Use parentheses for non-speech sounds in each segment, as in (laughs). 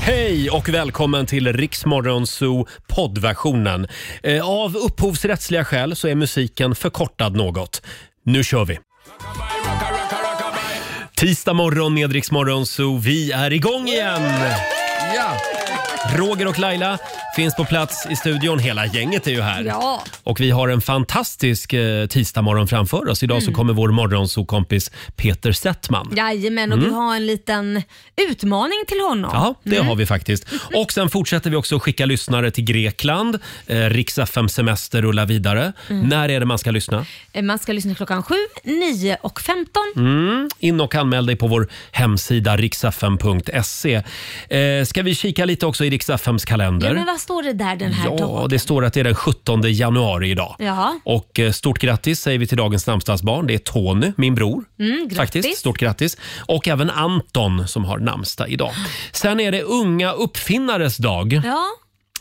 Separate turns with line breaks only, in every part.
Hej och välkommen till Riksmorgon Zoo poddversionen. Eh, Av upphovsrättsliga skäl så är musiken förkortad något. Nu kör vi! Tisdag morgon med Riksmorgon Zoo. Vi är igång igen!
Ja.
Roger och Laila finns på plats i studion. Hela gänget är ju här.
Ja.
Och vi har en fantastisk eh, tisdagmorgon framför oss. Idag så kommer vår morgonsokompis Peter Settman.
Jajamän, och du har en liten utmaning till honom.
Mm. Ja, det
Mm.
har vi faktiskt. Och sen fortsätter vi också att skicka lyssnare till Grekland. Eh, Rix FM semester rullar vidare.
Mm.
När är det man ska lyssna?
Man ska lyssna klockan 7, 9 och 15.
Mm. In och anmäl dig på vår hemsida riksfm.se. Eh, ska vi kika lite också i Rix FMs kalender?
Ja, men vad står det där den här
Ja,
dagen?
det står att det är den 17 januari idag.
Ja.
Och eh, stort grattis säger vi till dagens namnsdagsbarn. Det är Tony, min bror.
Mm, grattis.
Faktiskt, stort grattis. Och även Anton som har namnsdag idag. Sen är det unga uppfinnares dag.
Ja,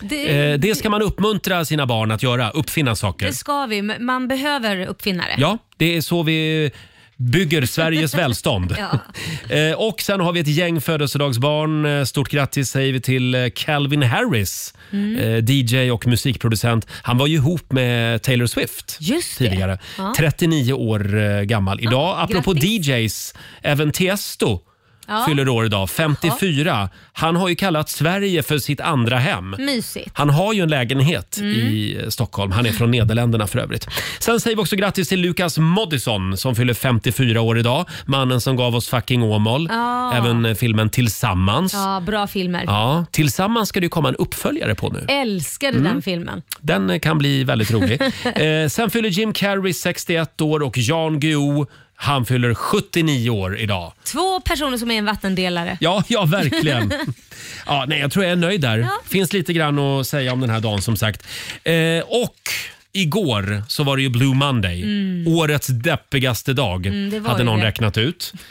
det,
Eh, det ska man uppmuntra sina barn att göra, uppfinna saker.
det ska vi. men Man behöver uppfinnare.
Ja, det är så vi bygger
(laughs)
Sveriges välstånd.
Ja.
(laughs) Eh, Och sen har vi ett gäng födelsedagsbarn. Eh, Stort grattis säger vi till eh, Calvin Harris,
Mm.
eh, DJ och musikproducent. Han var ju ihop med Taylor Swift
Just det.
tidigare.
Ja.
39 år eh, gammal idag. Apropå
grattis.
DJs, även Tiesto
Ja.
fyller år idag, 54. Han har ju kallat Sverige för sitt andra hem.
Mysigt.
Han har ju en lägenhet i eh, Stockholm. Han är från Nederländerna för övrigt. Sen säger vi också grattis till Lukas Moodysson som fyller 54 år idag. Mannen som gav oss Fucking Åmål.
Ja.
Även eh, filmen Tillsammans. Ja.
Ja, bra filmer.
Tillsammans ska det ju komma en uppföljare på nu.
Älskade
Mm.
den filmen.
Den eh, kan bli väldigt rolig. eh, sen fyller Jim Carrey 61 år och Jan Guillou han fyller 79 år idag.
Två personer som är en vattendelare.
Ja, ja
(laughs)
verkligen. Ja, nej, jag tror jag är nöjd där. finns lite grann att säga om den här dagen som sagt. Eh, och igår så var det ju Blue Monday. Årets deppigaste dag,
Mm. det var
hade
ju
någon
det.
räknat ut.
(laughs)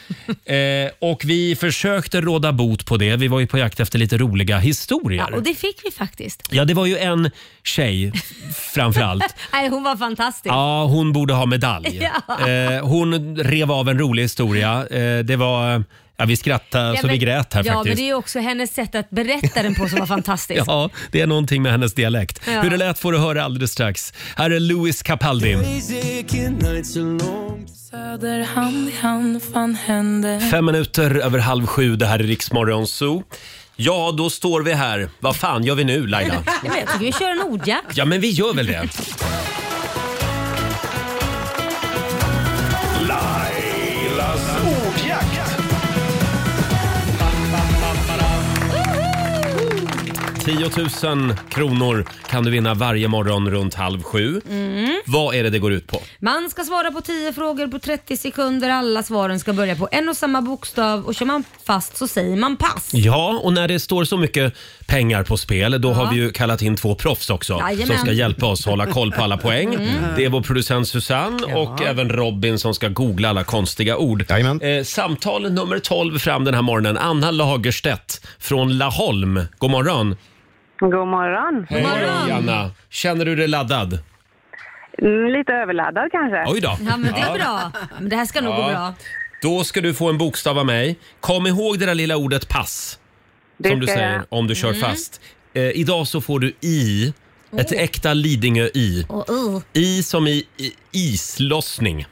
Eh, och vi försökte råda bot på det. Vi var ju på jakt efter lite roliga historier.
Ja, och det fick vi faktiskt.
Ja, det var ju en tjej
(laughs)
framförallt.
Nej, hon var fantastisk. (laughs)
Ja, hon borde ha medalj.
Ja.
Eh, hon rev av en rolig historia. Eh, det var... Ja, vi skrattade
Ja,
så vi
men-
grät här
Ja,
faktiskt.
men det är ju också hennes sätt att berätta den på som var fantastiskt.
(laughs) Ja, det är någonting med hennes dialekt.
Ja.
Hur det lät får du höra alldeles strax. Här är Louis Capaldi.
Söder hand i hand, fan händer
Fem minuter över halv sju, det här är Riksmorgon Zoo. Ja, då står vi här. Vad fan gör vi nu Laila?
Ja, men Jag tycker vi kör en ordjakt.
Ja, men vi gör väl det.
Lailas ordjakt.
10 000 kronor kan du vinna varje morgon runt halv sju.
Mm.
Vad är det det går ut på?
Man ska svara på 10 frågor på 30 sekunder. Alla svaren ska börja på en och samma bokstav och kör man fast så säger man pass.
Ja, och när det står så mycket pengar på spel, då har vi ju kallat in två proffs också
Jajamän. Mm.
som ska hjälpa oss hålla koll på alla poäng. Det är vår producent Susanne och även Robin som ska googla alla konstiga ord.
Jajamän.
Eh, samtal nummer 12 fram den här morgonen. Anna Lagerstedt från Laholm. God morgon.
God morgon.
God
morgon.
Anna. Känner du dig laddad?
Mm, Lite överladdad kanske.
Oj då.
Ja men det är bra. Men det här ska nog
Ja.
gå bra.
Då ska du få en bokstav av mig. Kom ihåg det där lilla ordet pass.
Det
som du
ska jag
säger
göra.
om du kör
Mm.
fast. Eh, idag så får du I. Ett äkta Lidingö-I.
Oh. Och, uh,
I som i, i islossning.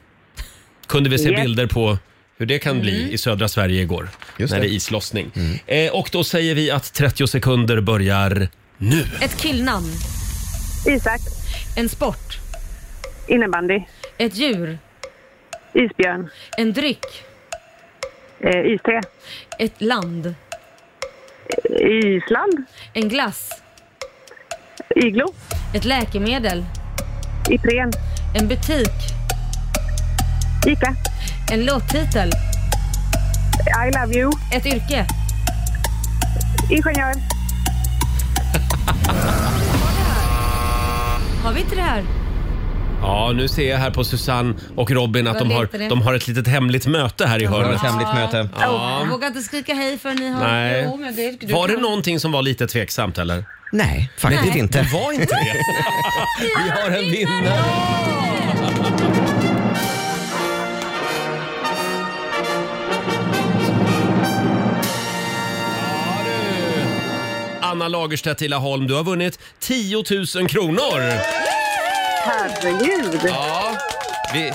Kunde vi se
Yes.
bilder på hur det kan
Mm.
bli i södra Sverige igår.
Just
när det är
det.
islossning. Eh, och då säger vi att 30 sekunder börjar nu.
ett killnamn.
Isak,
En sport.
innebandy,
Ett djur.
isbjörn,
En dryck.
eh, iste,
Ett land.
Island,
En glass.
iglo,
Ett läkemedel.
Ipren,
En butik.
Ica,
En låttitel.
I love you,
Ett yrke.
ingenjör.
Har vi inte det här?
Ja, nu ser jag här på Susanne och Robin att
Vad
de
heter det?
har, de har ett litet hemligt möte här i hörnet.
Ett hemligt möte.
Jag vågar inte skrika hej förrän ni har...
Nej.
Jo, men det, du
Var det
kan-
någonting som var lite tveksamt eller?
Nej, faktiskt inte.
Det var
(laughs)
inte det. Vi har en vinnare. Ja, Sanna Lagerstedt Tillaholm, du har vunnit 10 000 kronor!
Herregud.
Ja, vi,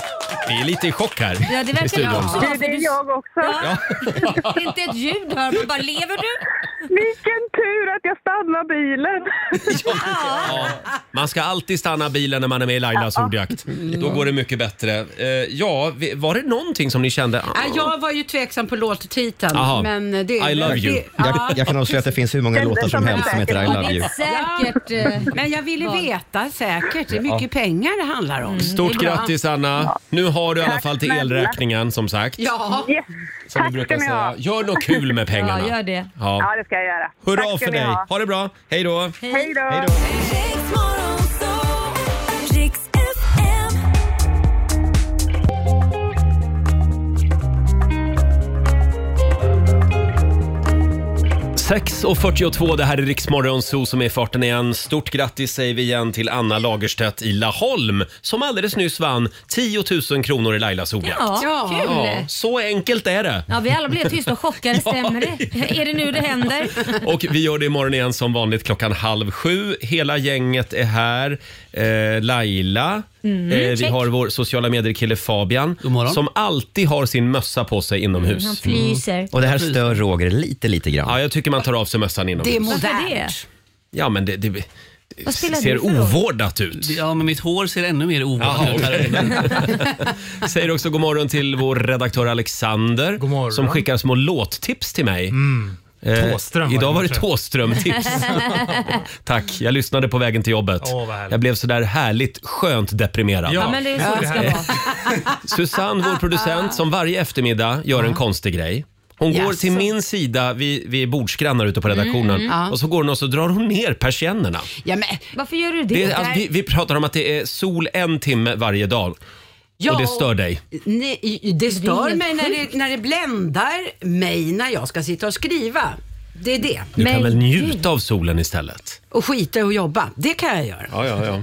vi är lite i chock här
Ja, det
i
verkar
studion.
jag också.
Du, det är jag också.
Ja. (laughs) Inte ett ljud hör man, bara lever du?
(laughs) Vilken tur att jag stannar
(laughs)
bilen.
Ja, man ska alltid stanna bilen när man är med i Lailas ordjakt. Då går det mycket bättre. Eh, Ja, vi- var det någonting som ni kände? ah,
Nej, Äh, jag var ju tveksam på låttiteln.
Aha.
Men det,
I love you.
Det, ja.
Jag, jag kan avslöja att det finns hur många
Kändes
låtar som
som en
helst som heter I
säker
love
Det
you.
är säkert... eh,
Men jag ville veta säkert. Det är mycket pengar det handlar om.
Mm. Stort
Det är bra.
grattis Anna! Nu har du i alla fall till
snälla.
elräkningen som sagt.
Ja.
Yes.
Som vi
Tack ska
brukar
ni ha.
säga. Gör något kul
(laughs)
med pengarna.
Ja, gör det.
Ja.
Ja, det ska jag göra. Tack
Hurra
ska
för
ni
dig!
ha.
Ha det bra! Hej då!
Hej då.
Hej då.
Sex och 42, det här är Riksmorgon Zoo som är i farten igen. Stort grattis säger vi igen till Anna Lagerstedt i Laholm som alldeles nyss vann 10 000 kronor i Lailas ordjakt.
Ja,
Ja.
kul.
Ja, så enkelt är det.
Ja, vi alla blev tysta och chockade. Stämmer det? Är det nu det händer?
(laughs) Och vi gör det imorgon igen som vanligt klockan halv sju. Hela gänget är här. Eh, Laila. eh, vi
Mm. check.
har vår sociala medier-kille Fabian.
God morgon.
Som alltid har sin mössa på sig inomhus. Mm.
Han fryser.
Och det här stör Roger lite, lite
Ja,
grann.
jag tycker man tar av sig mössan
Det är
inomhus.
Varför det?
modernt.
Ja, men det, det, det
Vad spelar
ser
det för roll?
ovårdat ut.
Ja, men mitt hår ser ännu mer
Jaha,
ovanligt ut.
okej.
här.
(laughs) Säger också god morgon till vår redaktör Alexander
God morgon.
som skickar små låttips till mig. Eh,
Thåström var
idag
det
var det
kanske.
(laughs)
Thåström-tips. Tack, jag lyssnade på vägen till jobbet.
Åh, vad härligt.
jag blev sådär härligt skönt deprimerad. Eh,
Ja.
Ja, men det är så det ska vara.
Susanne, vår producent, som varje eftermiddag gör en konstig grej. Hon går
Jaså.
till min sida, vi, vi är bordsgrannar ute på redaktionen,
Mm,
och så går hon och så drar hon ner persiennerna.
Ja, men,
Varför gör du det?
Det är, alltså, vi, vi pratar om att det är sol en timme varje dag
ja,
och det stör dig.
Nej, det stör
helt
mig när det, när det bländar mig när jag ska sitta och skriva. Det är det.
Du kan
Men
väl
gud.
njuta av solen istället?
Och skita i att jobba. Det kan jag göra.
Ja, ja, ja.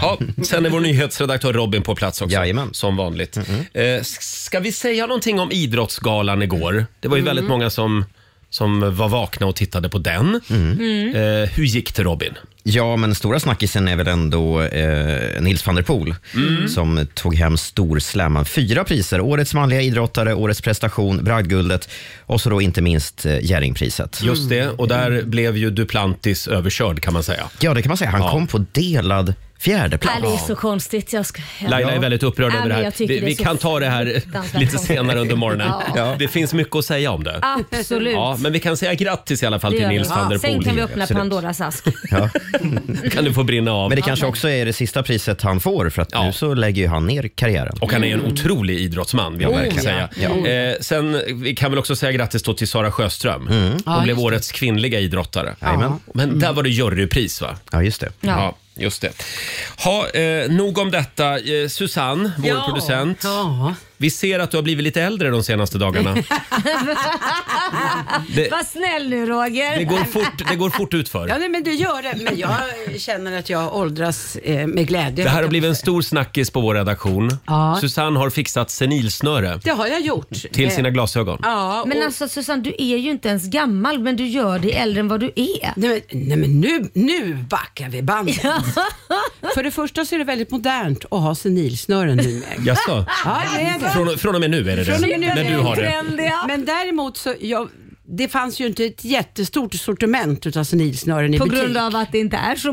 Ja, sen är vår nyhetsredaktör Robin på plats också.
Jajamän.
Som vanligt. Eh, s- ska vi säga någonting om Idrottsgalan igår? Det var ju
Mm.
väldigt många som, som var vakna och tittade på den. Eh, hur gick det Robin?
Mm. Ja, men stora snackisen är väl ändå eh, Nils van der Poel
Mm.
som tog hem storslamman. Fyra priser. Årets manliga idrottare, Årets prestation, Bragdguldet och så då inte minst eh, Jerringpriset. Mm.
Just det, och där blev ju Duplantis överkörd kan man säga.
Ja, det kan man säga. Han kom på delad fjärde plats.
Nej, det är så konstigt. Jag ska...
Laila är väldigt upprörd
Ja,
över det
men
här.
jag tycker
Vi,
det är
vi
så
kan ta det här
fruktansvärt
lite
konstigt.
senare under morgonen.
Ja.
Det finns mycket att säga om det.
Absolut.
Ja, men vi kan säga grattis i alla fall
det
till
gör
Nils
vi.
van der
Sen
Poel.
kan vi öppna
Absolut.
Pandoras ask.
Ja.
(laughs) kan du få brinna av.
Men det kanske också är det sista priset han får för att
Ja.
nu så lägger ju han ner karriären.
Och han är en otrolig idrottsman, vill jag
Oh,
verkligen säga.
ja.
Eh, sen vi kan väl också säga grattis då till Sara Sjöström.
Mm.
Hon
Ja,
blev
just det.
årets kvinnliga idrottare.
Jajamän. Mm.
Men där var det jurypris, va?
Ja, just det.
Ja.
just det. Ha, eh, nog om detta. Eh, Susanne, vår producent.
Ja.
Vi ser att du har blivit lite äldre de senaste
(laughs)
dagarna. det,
Var snäll nu
det,
Roger.
går fort, det går fort utför.
Ja, nej, men du gör det. Men jag känner att jag åldras eh, med glädje.
Det här har blivit en stor snackis på vår redaktion.
Ja.
Susanne har fixat senilsnöre
Det har jag gjort.
till
Eh,
sina glasögon.
(laughs) Ja, och,
Men alltså Susanne, du är ju inte ens gammal men du gör dig äldre än vad du är.
nej, men, nej, men nu, nu backar vi bandet. För det första så är det väldigt modernt att ha senilsnören numera.
Jaså?
Ja, det är det.
Från, från och med nu är det det.
Från och med nu är
När
det
du har det.
Trendiga.
Men däremot så, jag, det fanns ju inte ett jättestort sortiment utav senilsnören i
På
butik.
grund av att det inte är så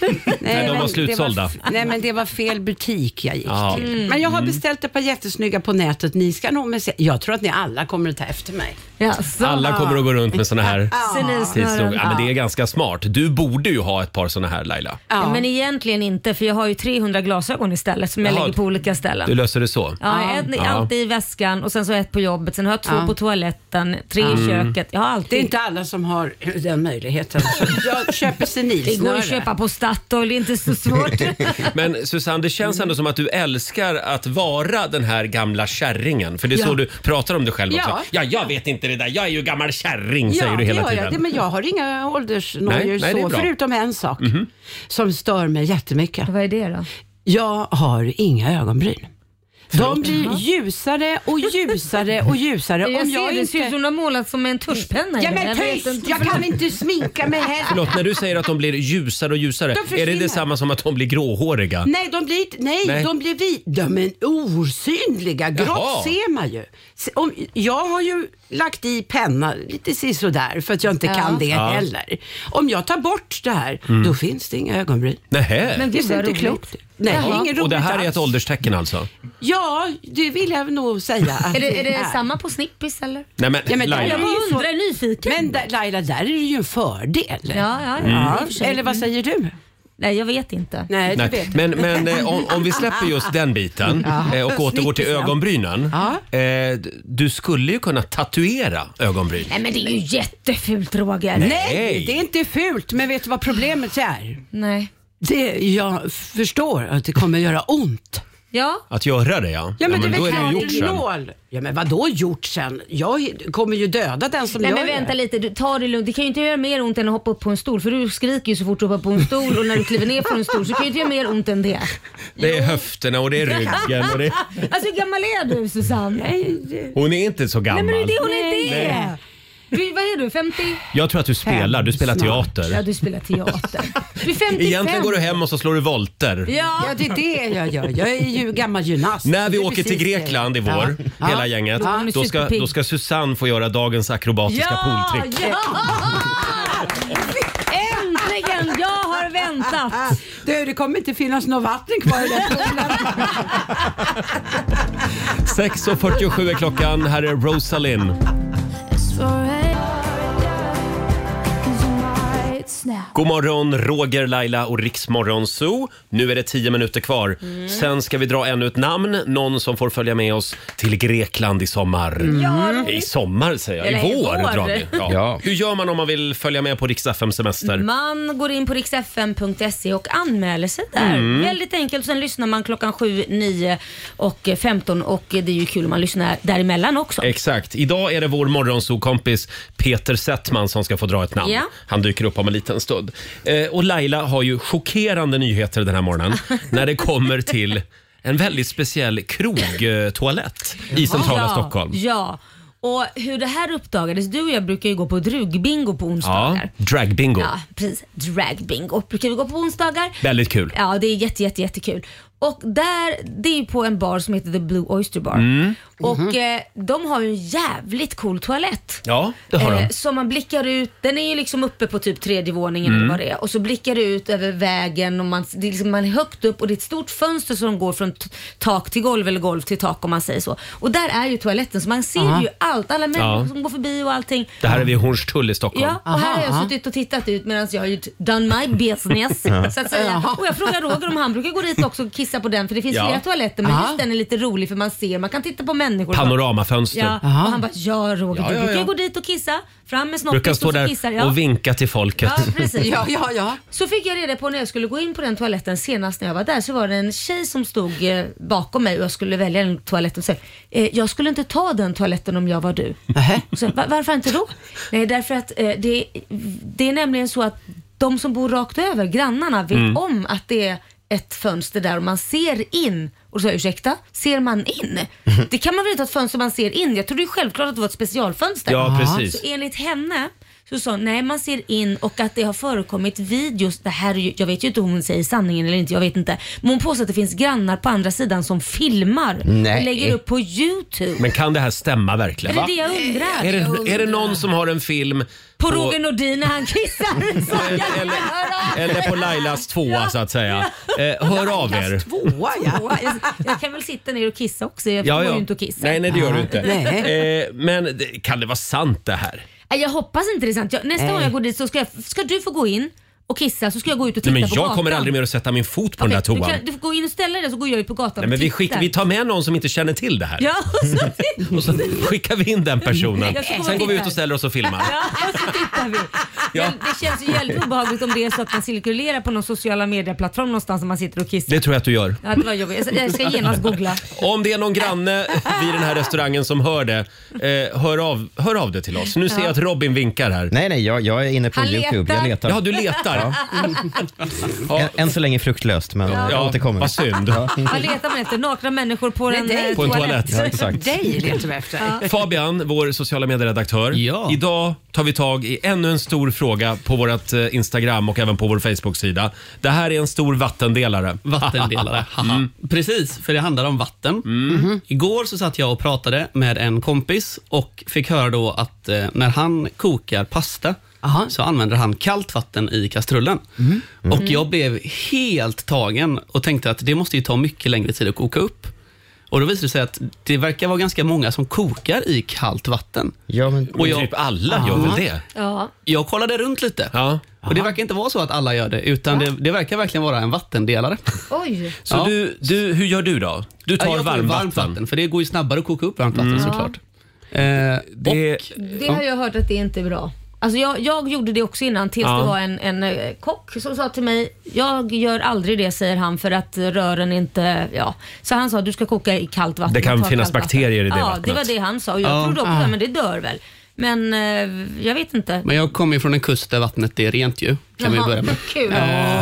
(laughs) Nej,
de
men
var
det
slutsålda.
f- nej, men det var fel butik jag gick
Ja. Mm.
till.
Mm.
Men jag har beställt ett par jättesnygga på nätet. Ni ska nog med se. Jag tror att ni alla kommer att ta efter mig.
Jaså.
Alla kommer att gå runt med såna här tills nog.
Senilsnören.
Ja, men det är ganska smart. Du borde ju ha ett par såna här Laila.
Ja.
Men egentligen inte för jag har ju 300 glasögon istället som jag
Jaha.
lägger på olika ställen.
Du löser det så.
Ja, ett, Alltid
(laughs)
i väskan och sen så ett på jobbet. Sen har jag två på toaletten, tre i
Mm.
köket. Jag har alltid.
Det är inte alla som har den möjligheten. Jag köper
(laughs) det går
senilsnöre.
att köpa på Statoil, det är inte så svårt.
(laughs) Men Susanne, det känns ändå som att du älskar att vara den här gamla kärringen. För det är så
Ja.
du pratar om dig själv också.
Ja.
Ja, jag vet inte det där. Jag är ju gammal kärring, säger
Ja,
du
det
hela
gör jag. Det,
tiden.
men jag har inga
Nej,
åldersnojor
nej, det är
så,
bra. Mhm.
förutom en sak som stör mig jättemycket.
Vad är det då?
Jag har inga ögonbryn. De blir ljusare och ljusare och
(laughs)
ljusare.
Jag
om
ser
jag
det, ser ut
inte...
som de har målat som med en tuschpenna.
Ja
Jag
men
vet
tyst!
inte.
Jag kan inte sminka mig här.
Förlåt, när du säger att de blir ljusare och ljusare,
De
är det
försvinner.
detsamma som att de blir gråhåriga?
Nej, de blir, nej,
Nej.
de blir vita. De är osynliga. Grått
Jaha.
ser man ju. Se- Om, jag har ju lagt i penna lite sisådär för att jag inte kan det heller. Om jag tar bort det här,
Mm.
då finns det inga ögonbryn.
Nähä.
Men
Det
gud
ser
vad
inte
roligt.
klokt ut. Nej,
Jaha.
inget roligt
Och det här är ett
alls.
ålderstecken alltså?
Ja, det vill jag nog säga att
Är det, är det
är.
samma på snippis eller?
Nej men,
Ja, men det
Laila.
är
Jag
ju
bara
så-
undrar, är nyfiken.
Men där, Laila, där är det ju en fördel. Mm.
Ja, ja, ja. i och för sig.
Eller vad säger du?
Nej, jag vet inte.
Nej, du
Nej.
vet.
Men, men eh, om, om vi släpper just den biten eh, och återgår till
Snickis, ja.
ögonbrynen.
Ja.
Eh, d- Du skulle ju kunna tatuera ögonbryn.
Nej men det är ju jättefult Roger.
Nej, det är inte fult, men vet du vad problemet är?
Nej.
Det, jag förstår att det kommer göra ont.
Ja,
Att göra det ja.
Ja men,
då
det är
ju
väl
gjort
klart en
sen.
nål. Ja men vadå gjort sen? Jag kommer ju döda den som
Nej
gör
men vänta
det.
lite, du, ta det lugnt. Det kan ju inte göra mer ont än att hoppa upp på en stol för du skriker ju så fort du hoppar på en stol och när du kliver ner från en stol så kan ju inte göra mer ont än det.
Det är höfterna och det är ryggen. Och det...
Alltså hur gammal är du Susanne? Nej,
Hon är inte så
men det är
gammal.
det hon inte är. Du, vad är du, 50?
Jag tror att du spelar. Du spelar
Ja
teater.
du spelar teater. Du är 55.
Egentligen går du hem och så slår du volter.
Ja.
Ja det är det jag gör. Jag är ju gammal gymnast.
När vi
Det är
åker till
precis
Grekland i vår,
Ja.
hela
Ja.
gänget,
Ja.
då, ska, då ska Susanne få göra dagens akrobatiska
ja,
pooltrick.
ja! Äntligen! Jag har väntat.
Du, det kommer inte finnas något vatten kvar i
(laughs)
den poolen.
6.47 är klockan. Här är Rosalind. God morgon, Roger, Laila och Riksmorgon Zoo. Nu är det tio minuter kvar.
Mm.
Sen ska vi dra ännu ett namn. Någon som får följa med oss till Grekland i sommar. I sommar säger jag. I
Eller i
vår,
vår.
drar vi. Ja.
Ja.
Hur gör man om man vill följa med på Rix FM-semester?
Man går in på riksfm.se och anmäler sig där.
Mm.
Väldigt enkelt. Sen lyssnar man klockan 7, 9 och 15 och det är ju kul om man lyssnar däremellan också.
Exakt. Idag är det vår morgonsokompis Peter Settman som ska få dra ett namn.
Ja.
Han dyker upp om en liten stund. Eh, och Laila har ju chockerande nyheter den här
(laughs)
morgonen när det kommer till en väldigt speciell krogtoalett i centrala
ja,
Stockholm.
Ja. Och hur det här uppdagades, du och jag brukar ju gå på drugbingo på
Ja,
onsdagar.
dragbingo.
Ja, precis. Dragbingo brukar vi gå på onsdagar.
Väldigt kul.
Ja, det är jätte, jätte, jättekul. Och där, det är ju på en bar som heter The Blue Oyster Bar.
Mm.
Och eh, de har ju en jävligt cool toalett.
Ja, det har de.
Eh, så man blickar ut, den är ju liksom uppe på typ tredje våningen
Mm.
eller vad det är. Och så blickar du ut över vägen och man, det är liksom, man är högt upp och det är ett stort fönster som går från t- tak till golv eller golv till tak om man säger så. Och där är ju toaletten så man ser ju allt, alla människor
Ja.
som går förbi och allting.
Det här är vid Hornstull i Stockholm.
Ja, och här har jag suttit och tittat ut medan jag har gjort done my business. så att säga. Och jag frågar Roger om han brukar gå dit också och kissa på den för det finns
Ja.
flera toaletter men just den är lite rolig för man ser, man kan titta på människor.
Panoramafönster.
Ja, och han bara ja Roger,
Ja,
du
ja,
brukar
ja.
gå dit och kissa. Fram med
Brukar
snoppis
stå
och så
där
kissar. Ja.
och vinka till folket.
Ja, precis.
Ja, ja, ja.
Så fick jag reda på när jag skulle gå in på den toaletten senast när jag var där så var det en tjej som stod eh, bakom mig och jag skulle välja en toalett och sa eh, jag skulle inte ta den toaletten om jag var du. Så, Va, varför inte då? Nej, därför att eh, det, det är nämligen så att de som bor rakt över, grannarna, vet
Mm.
om att det är ett fönster där och man ser in. Och så ursäkta, ser man
(laughs)
in? Det kan man väl inte ha ett fönster man ser in? Jag trodde ju självklart att det var ett specialfönster.
Ja, precis.
Så enligt henne så sa hon, nej man ser in och att det har förekommit videos. Det här är ju, jag vet ju inte om hon säger sanningen eller inte, jag vet inte. Men hon påstår att det finns grannar på andra sidan som filmar
Nej.
och lägger upp på YouTube.
(laughs) Men kan det här stämma verkligen?
är det det jag undrar?
Är det, är det någon som har en film
På Roger Nordin när
(laughs)
han kissar. Så jag
eller,
kan
eller,
höra.
eller på Lailas tvåa så att säga. Eh, hör av er.
Tvåa ja.
Jag- Jag kan väl sitta ner och kissa också. Jag
Ja,
går
ja.
ju inte och kissa.
Nej, nej, det gör du inte.
Nej.
Eh, men det- kan det vara sant det här?
(laughs) Nej, Jag hoppas inte det är sant. Jag, nästa gång jag går dit så ska, jag, ska du få gå in och kissa så ska jag gå ut och titta
Nej, men
på
jag
gatan.
kommer aldrig mer att sätta min fot på den där
Okej,
toan.
Du, kan, du får gå in och ställa dig så går jag ut på gatan
Nej, men
och
vi, skick,
tittar.
vi tar med någon som inte känner till det här.
Ja, och så
(laughs)
tittar
Och så skickar vi in den personen.
Jag ska gå och
Sen går vi ut
titta.
och ställer oss och filmar.
(laughs) Ja, och så tittar vi.
Ja.
Men det känns ju jävligt obehagligt om det är så att man cirkulerar på någon sociala medieplattform någonstans när man sitter och kissar.
Det tror jag att du gör.
Ja, det var jobbigt. Jag ska- Jag ska genast googla.
Om det är någon granne vid den här restaurangen som hör det, eh, hör, av, hör av det till oss. Nu ser jag att Robin vinkar här.
Nej, nej, jag, jag är inne på
Han
YouTube. Jag
letar.
letar.
Ja, du letar.
(laughs)
jobbar.
Än, än så länge fruktlöst, men jag återkommer.
vad synd. (laughs)
Vad letar man efter? Nakna människor på, en,
det är
eh,
På en toalett.
toalett.
Ja,
(laughs)
exakt.
Dig letar vi efter.
Fabian, vår sociala medieredaktör.
Ja.
Idag tar vi tag i ännu en stor fråga på vårt eh, Instagram och även på vår Facebook-sida. Det här är en stor vattendelare. (laughs)
Vattendelare.
Mm.
haha. Precis, för det handlar om vatten. Mm-hmm. Igår så satt jag och pratade med en kompis och fick höra då att eh, när han kokar pasta
Aha.
så använder han kallt vatten i kastrullen.
Mm.
Och jag blev helt tagen och tänkte att det måste ju ta mycket längre tid att koka upp. Och då visade det sig att det verkar vara ganska många som kokar i kallt vatten.
Ja, men,
Och jag,
Typ alla gör väl det?
Ja.
jag kollade runt lite.
Ja.
Och det verkar inte vara så att alla gör det, utan det, det verkar verkligen vara en vattendelare.
Oj.
(laughs) Så
Ja.
du, du, hur gör du då? Du
Ja,
tar
jag
varmvatten.
varmt vatten. För det går ju snabbare att koka upp varmt vatten såklart. Eh,
Det-
och,
Det har jag hört att det inte är bra. Alltså jag, jag gjorde det också innan tills
Ja.
det var en, en eh, kock som sa till mig, jag gör aldrig det säger han för att rören inte, ja. Så han sa du ska koka i kallt vatten.
Det kan
ta
finnas
kallt
bakterier i det
Ja,
vattnet. Ah.
det var det han sa. Och Jag
Ja.
trodde också det, men det dör väl. Men eh, jag vet inte.
men jag kommer ju från en kust där vattnet är rent ju. Kan vi
Jaha,
börja med.
(laughs)
Eh,
Kul.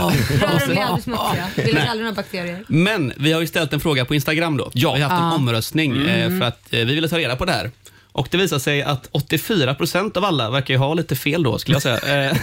Rören blir aldrig smutsiga. Det blir aldrig några bakterier.
Men vi har ju ställt en fråga på Instagram då.
Ja.
Vi har haft en omröstning
Mm.
eh, för att eh, vi ville ta reda på det här. Och det visar sig att 84% av alla verkar ju ha lite fel då skulle jag
(laughs)
säga. Eh,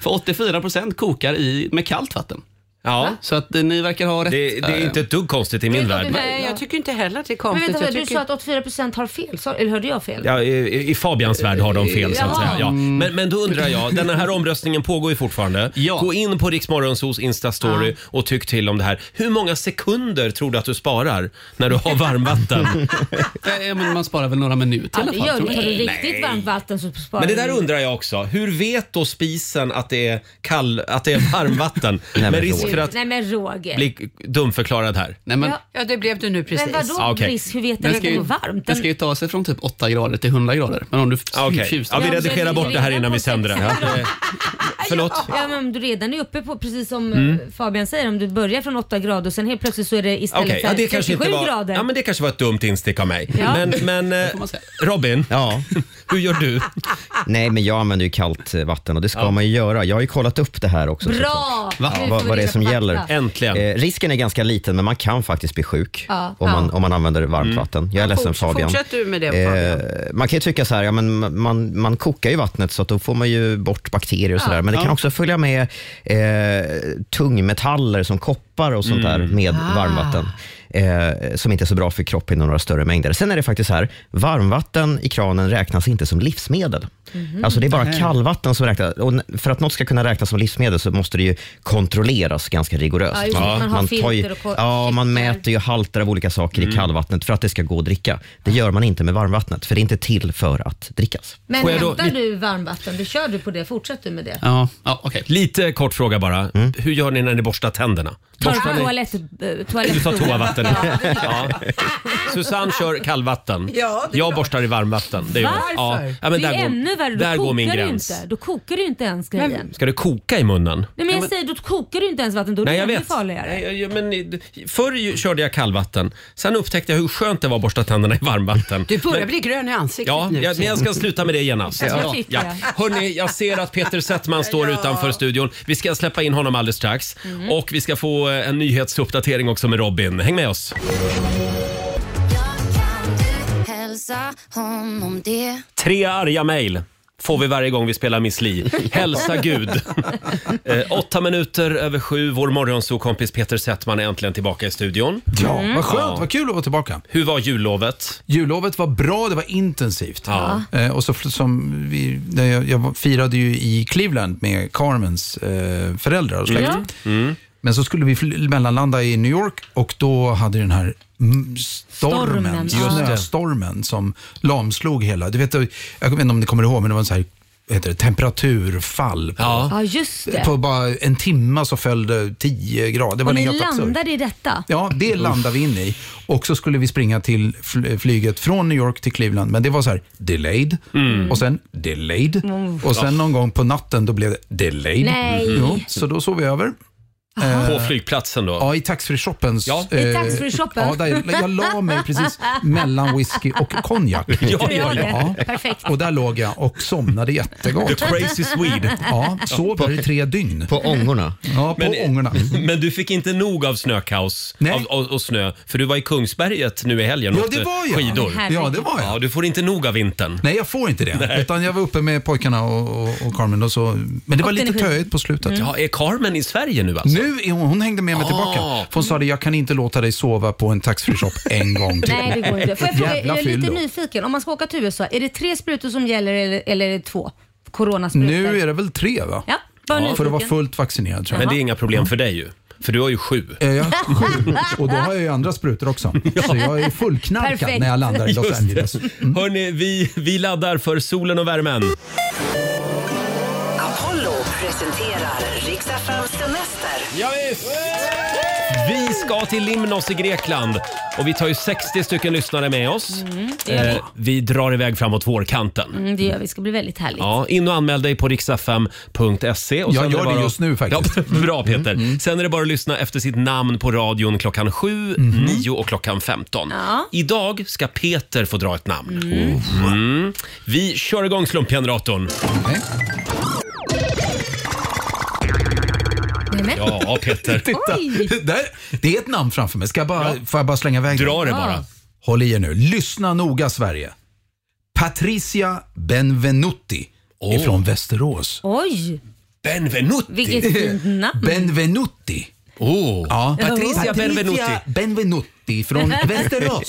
för 84% kokar i, med kallt vatten.
Ja.
Så att eh, ni verkar ha rätt. eh.
Det, det är inte ett dugg konstigt i min
Det är
värld.
klart
Nej, jag tycker inte heller att det är
Men
konstigt.
vänta,
jag
du
tycker...
sa att 84% har fel, sa, eller hörde jag fel?
Ja, i, I Fabians värld har de fel så att
Jaha.
säga. Ja. Men, men då undrar jag, den här omröstningen pågår ju fortfarande.
Mm. Ja.
Gå in på Riksmorgonsos Insta-story och tyck till om det här. Hur många sekunder tror du att du sparar när du
(laughs)
har varmvatten?
Eh, men man sparar väl några minuter
Ja,
i
det
alla fall.
gör
tror
du.
jag.
Tar du riktigt varmt vatten så sparar
men det där
du.
undrar jag också. Hur vet då spisen att det är, kall, att det är varmvatten?
men
Med risk
Roger.
för att
Nej men Roger.
bli dumförklarad här.
Nej, men,
Ja.
Ja, det blev du nu precis.
Men vadå
Ah, okej.
risk? Hur vet den
Den
att
ska,
det
ju,
går varmt?
den ska ju ta sig från typ 8 grader till 100 grader. Men om du
Ah, Okej,
tjusar-
ja, vi
Ja,
redigerar
men
bort det här
redan
innan vi
på
sänder det.
sex-
Eh, (laughs) Förlåt?
Ja men om du redan är uppe på, precis som
Mm.
eh, Fabian säger, om du börjar från 8 grader och sen helt plötsligt så är det istället
Okej, ja,
för
det kanske
37
inte var,
grader.
ja, men det kanske var ett dumt instick av mig.
Ja. (laughs)
Men, men eh,
man säga.
Robin,
ja.
(laughs) hur gör du?
Nej, men jag använder ju kallt eh, vatten och det ska man ju göra. Jag har ju kollat upp det här också. såklart.
Bra! Nu får vi
Vad, vad det är
reda
som
på
gäller.
fakta.
Äntligen.
Eh, risken är ganska liten, men man kan faktiskt bli sjuk
Ja,
om, man,
ja.
om man använder varmt vatten. Jag är ledsen
Forts-
Fabian.
Fortsätt du med det Fabian.
Eh, Man kan ju tycka så här, ja, men ma- man, man kokar ju vattnet så att då får man ju bort bakterier och sådär. Men det kan också följa med eh, tungmetaller som koppar och sånt där med
Ah.
varmvatten. Eh, som inte är så bra för kroppen i några större mängder. Sen är det faktiskt så här, varmvatten i kranen räknas inte som livsmedel. Alltså det är bara kallvatten som räknas. Och n- för att något ska kunna räknas som livsmedel så måste det ju kontrolleras ganska rigoröst.
Ja, just det. Man har
tar ju,
filter och ko-
ja, man
filter.
mäter det är ju halter av olika saker
Mm.
i kallvattnet för att det ska gå att dricka. Det gör man inte med varmvattnet, för det är inte till för att drickas.
Men
Får jag då-
hämtar du varmvatten, du kör du på det, fortsätt du med det.
Ja, ja okej.
Lite kort fråga bara. Hur gör ni när ni borstar tänderna?
Tar
Borstar
du
ni-
toalett, eh,
(laughs)
toalett,
Du tar toavatten.
Ja.
Ja. Susanne kör kallvatten.
Ja, det är
jag
klart.
borstar i varmvatten. (laughs) Det gör jag. Ja.
Varför?
Ja, men
det
där
är
går,
ännu värre, då
där går
kokar
min
du
gräns.
inte. Då kokar du inte ens grejen.
Ska det koka i munnen?
Nej men jag säger, då kokar du inte ens vatten, då är det
Nej, jag
ännu
vet.
farligare.
Nej, jag- jag- men, i- förr ju- körde jag kallvatten. Sen upptäckte jag hur skönt det var att borsta tänderna i varmvatten.
Du börjar bli grön i ansiktet
Ja,
nu.
jag, men jag ska sluta med det genast.
Ja, jag tycker det.
Hörrni, jag ser att Peter Settman står utanför studion. Vi ska släppa in honom alldeles strax.
Mm.
Och vi ska få eh, en nyhetsuppdatering också med Robin. Häng med oss!
Hälsa honom
(laughs)
det.
Tre arga mejl får vi varje gång vi spelar Miss Li. Hälsa Gud.
(laughs)
eh, åtta minuter över sju. Vår morgonsokompis Peter Settman är äntligen tillbaka i studion.
Ja,
Mm.
vad skönt. Vad kul att vara tillbaka.
Hur var jullovet?
Jullovet var bra, det var intensivt.
Ja.
Eh, och så fl- som vi, när jag, jag var- firade ju i Cleveland med Carmens eh, föräldrar och
Mm.
Mm.
släkt.
Mm.
Men så skulle vi fl- mellanlanda i New York och då hade den här mm,
Stormen,
stormen,
ja.
snöstormen som lamslog hela. Du vet, eh, jag vet inte om ni kommer ihåg, men det var en så här vad heter det, temperaturfall. På,
Ja.
Ja just det.
på bara en timme så föll det 10 grader. Det var
Och ni
helt absurt.
landade i detta.
Ja, det landade vi in i. Och så skulle vi springa till fl- flyget från New York till Cleveland, men det var så här delayed
Mm.
och sen delayed och sen någon gång på natten då blev det delayed.
Mm. Nej.
Jo, så då sov vi över. Jaha.
På flygplatsen då?
Ja, i taxfree-shoppen.
Ja.
I taxfree-shoppen?
Ja, där, jag la mig
(laughs)
precis mellan whisky och konjak.
ja, ja.
Perfekt.
Och där låg jag och somnade jättegott.
The crazy Swede.
Ja, sov där i tre dygn.
På ångorna.
Ja, på ångorna.
(laughs) Men du fick inte nog av snökaos
Nej.
av, och, och snö, för du var i Kungsberget nu i helgen och
Ja,
åkte
det var jag.
skidor.
Men
Ja, det var jag.
Ja, du får inte nog av vintern.
Nej, jag får inte det. Utan jag var uppe med pojkarna och, och, och Carmen. Och så, men det var
Åkte
lite
ni skidor?
töigt på slutet.
Mm.
Ja, är Carmen i Sverige nu alltså?
Nu är hon, hon hängde med mig tillbaka.
Ah.
För hon sa det, jag kan inte låta dig sova på en taxfree-shop en gång till.
Nej, det går inte. Får jag fråga,
Jävla
jag är lite
fyllo.
nyfiken. Om man ska åka till USA, är det tre sprutor som gäller eller, eller är det två? Coronasprutor?
Nu är det väl tre va?
Ja, bara
För
nyfiken.
att vara fullt vaccinerad tror jag.
Men det är inga problem för dig ju, för du har ju sju.
Eh, Jag har (laughs) sju (laughs) och då har jag ju andra sprutor
(laughs)
också. Så jag är fullknarkad
Perfekt.
när jag landar i Los
Just
Angeles. Mm.
Hörni, vi, vi laddar för solen och värmen.
Apollo presenterar Riks-FMs semester.
Ja, Vi ska till Limnos i Grekland och vi tar ju 60 stycken lyssnare med oss.
Mm,
Eh,
det gör vi.
vi drar iväg framåt vårkanten.
Mm, det gör vi. Det ska bli väldigt härligt.
Ja, in och anmäl dig på riksfm.se. Och
Jag
sen är
gör det
bara-
just nu faktiskt. Mm,
Ja, (laughs) bra Peter. Sen är det bara att lyssna efter sitt namn på radion klockan 7,
Mhm.
9 och klockan 15.
Ja.
Idag ska Peter få dra ett namn. Mm. Vi kör igång slumpgeneratorn.
Nej.
Nämen.
Ja,
(laughs)
Peter.
Oj!
Där, det är ett namn framför mig. Ska jag bara, Får jag bara slänga iväg
Dra det
Ja.
bara.
Håll i er nu. Lyssna noga Sverige. Patricia Benvenuti ifrån Västerås.
Oj,
Benvenuti.
vilket fint namn.
Benvenuti.
Oh.
Ja.
Patricia Benvenuti.
Benvenuti
(laughs)
från Västerås.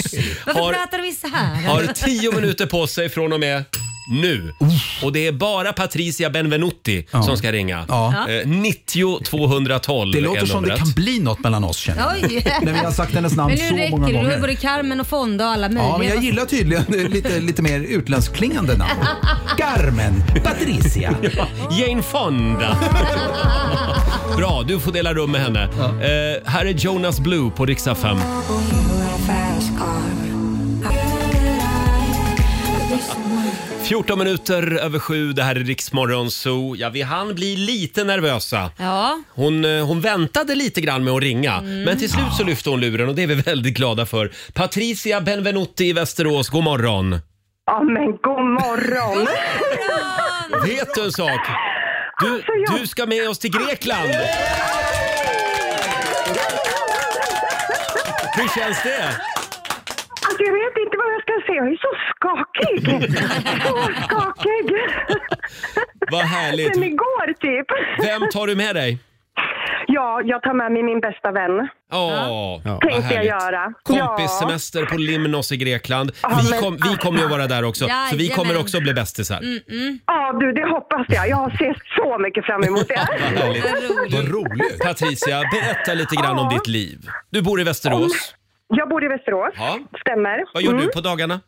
Varför
har-
pratar vi så här?
har tio minuter på sig från och med nu. Och det är bara Patricia Benvenuti som ska ringa.
Ja.
Eh, 90 212
Det
är
låter som det
numret.
kan bli något mellan oss känner jag.
Oj.
När vi har sagt hennes namn
(laughs) Men
så
nu
många
räcker det. Du har ju
gånger.
både Carmen och Fonda och alla möjliga.
Ja, men jag gillar tydligen eh, lite, lite mer utländskklingande
(laughs)
namn. Carmen,
(laughs)
Patricia.
Jane Fonda. Bra, du får dela rum med henne. Eh, här är Jonas Blue på riksdag 5.
Hej!
14 minuter över sju, det här är Riksmorgon Zoo. Ja, vi hann bli lite nervösa.
Ja.
Hon, eh, hon väntade lite grann med att ringa, men till slut så lyfte hon luren och det är vi väldigt glada för. Patricia Benvenuti i Västerås, god morgon.
Ja, men god morgon.
Vet du en sak? Du,
Alltså,
du ska med oss till Grekland! Hur känns det?
Alltså, jag vet inte vad jag ska säga. Jag är så
(laughs)
skakig. Så skakig.
Vad härligt.
Sen igår, typ.
Vem tar du med dig?
Ja, jag tar med mig min bästa vän.
Åh, vad
Tänkte jag
härligt.
göra.
Kompissemester på Limnos i Grekland.
Ja,
Vi,
men- alltså.
kom, vi kommer ju vara där också, så vi
Jajamän.
kommer också bli bästisar. Mm.
Ja, du, det hoppas jag. Jag ser så mycket fram emot det.
(laughs) Härligt.
Vad roligt.
Patricia, berätta lite grann om ditt liv. Du bor i Västerås.
Jag bor i Västerås.
Ja.
Stämmer.
Vad gör
Mm.
du på dagarna?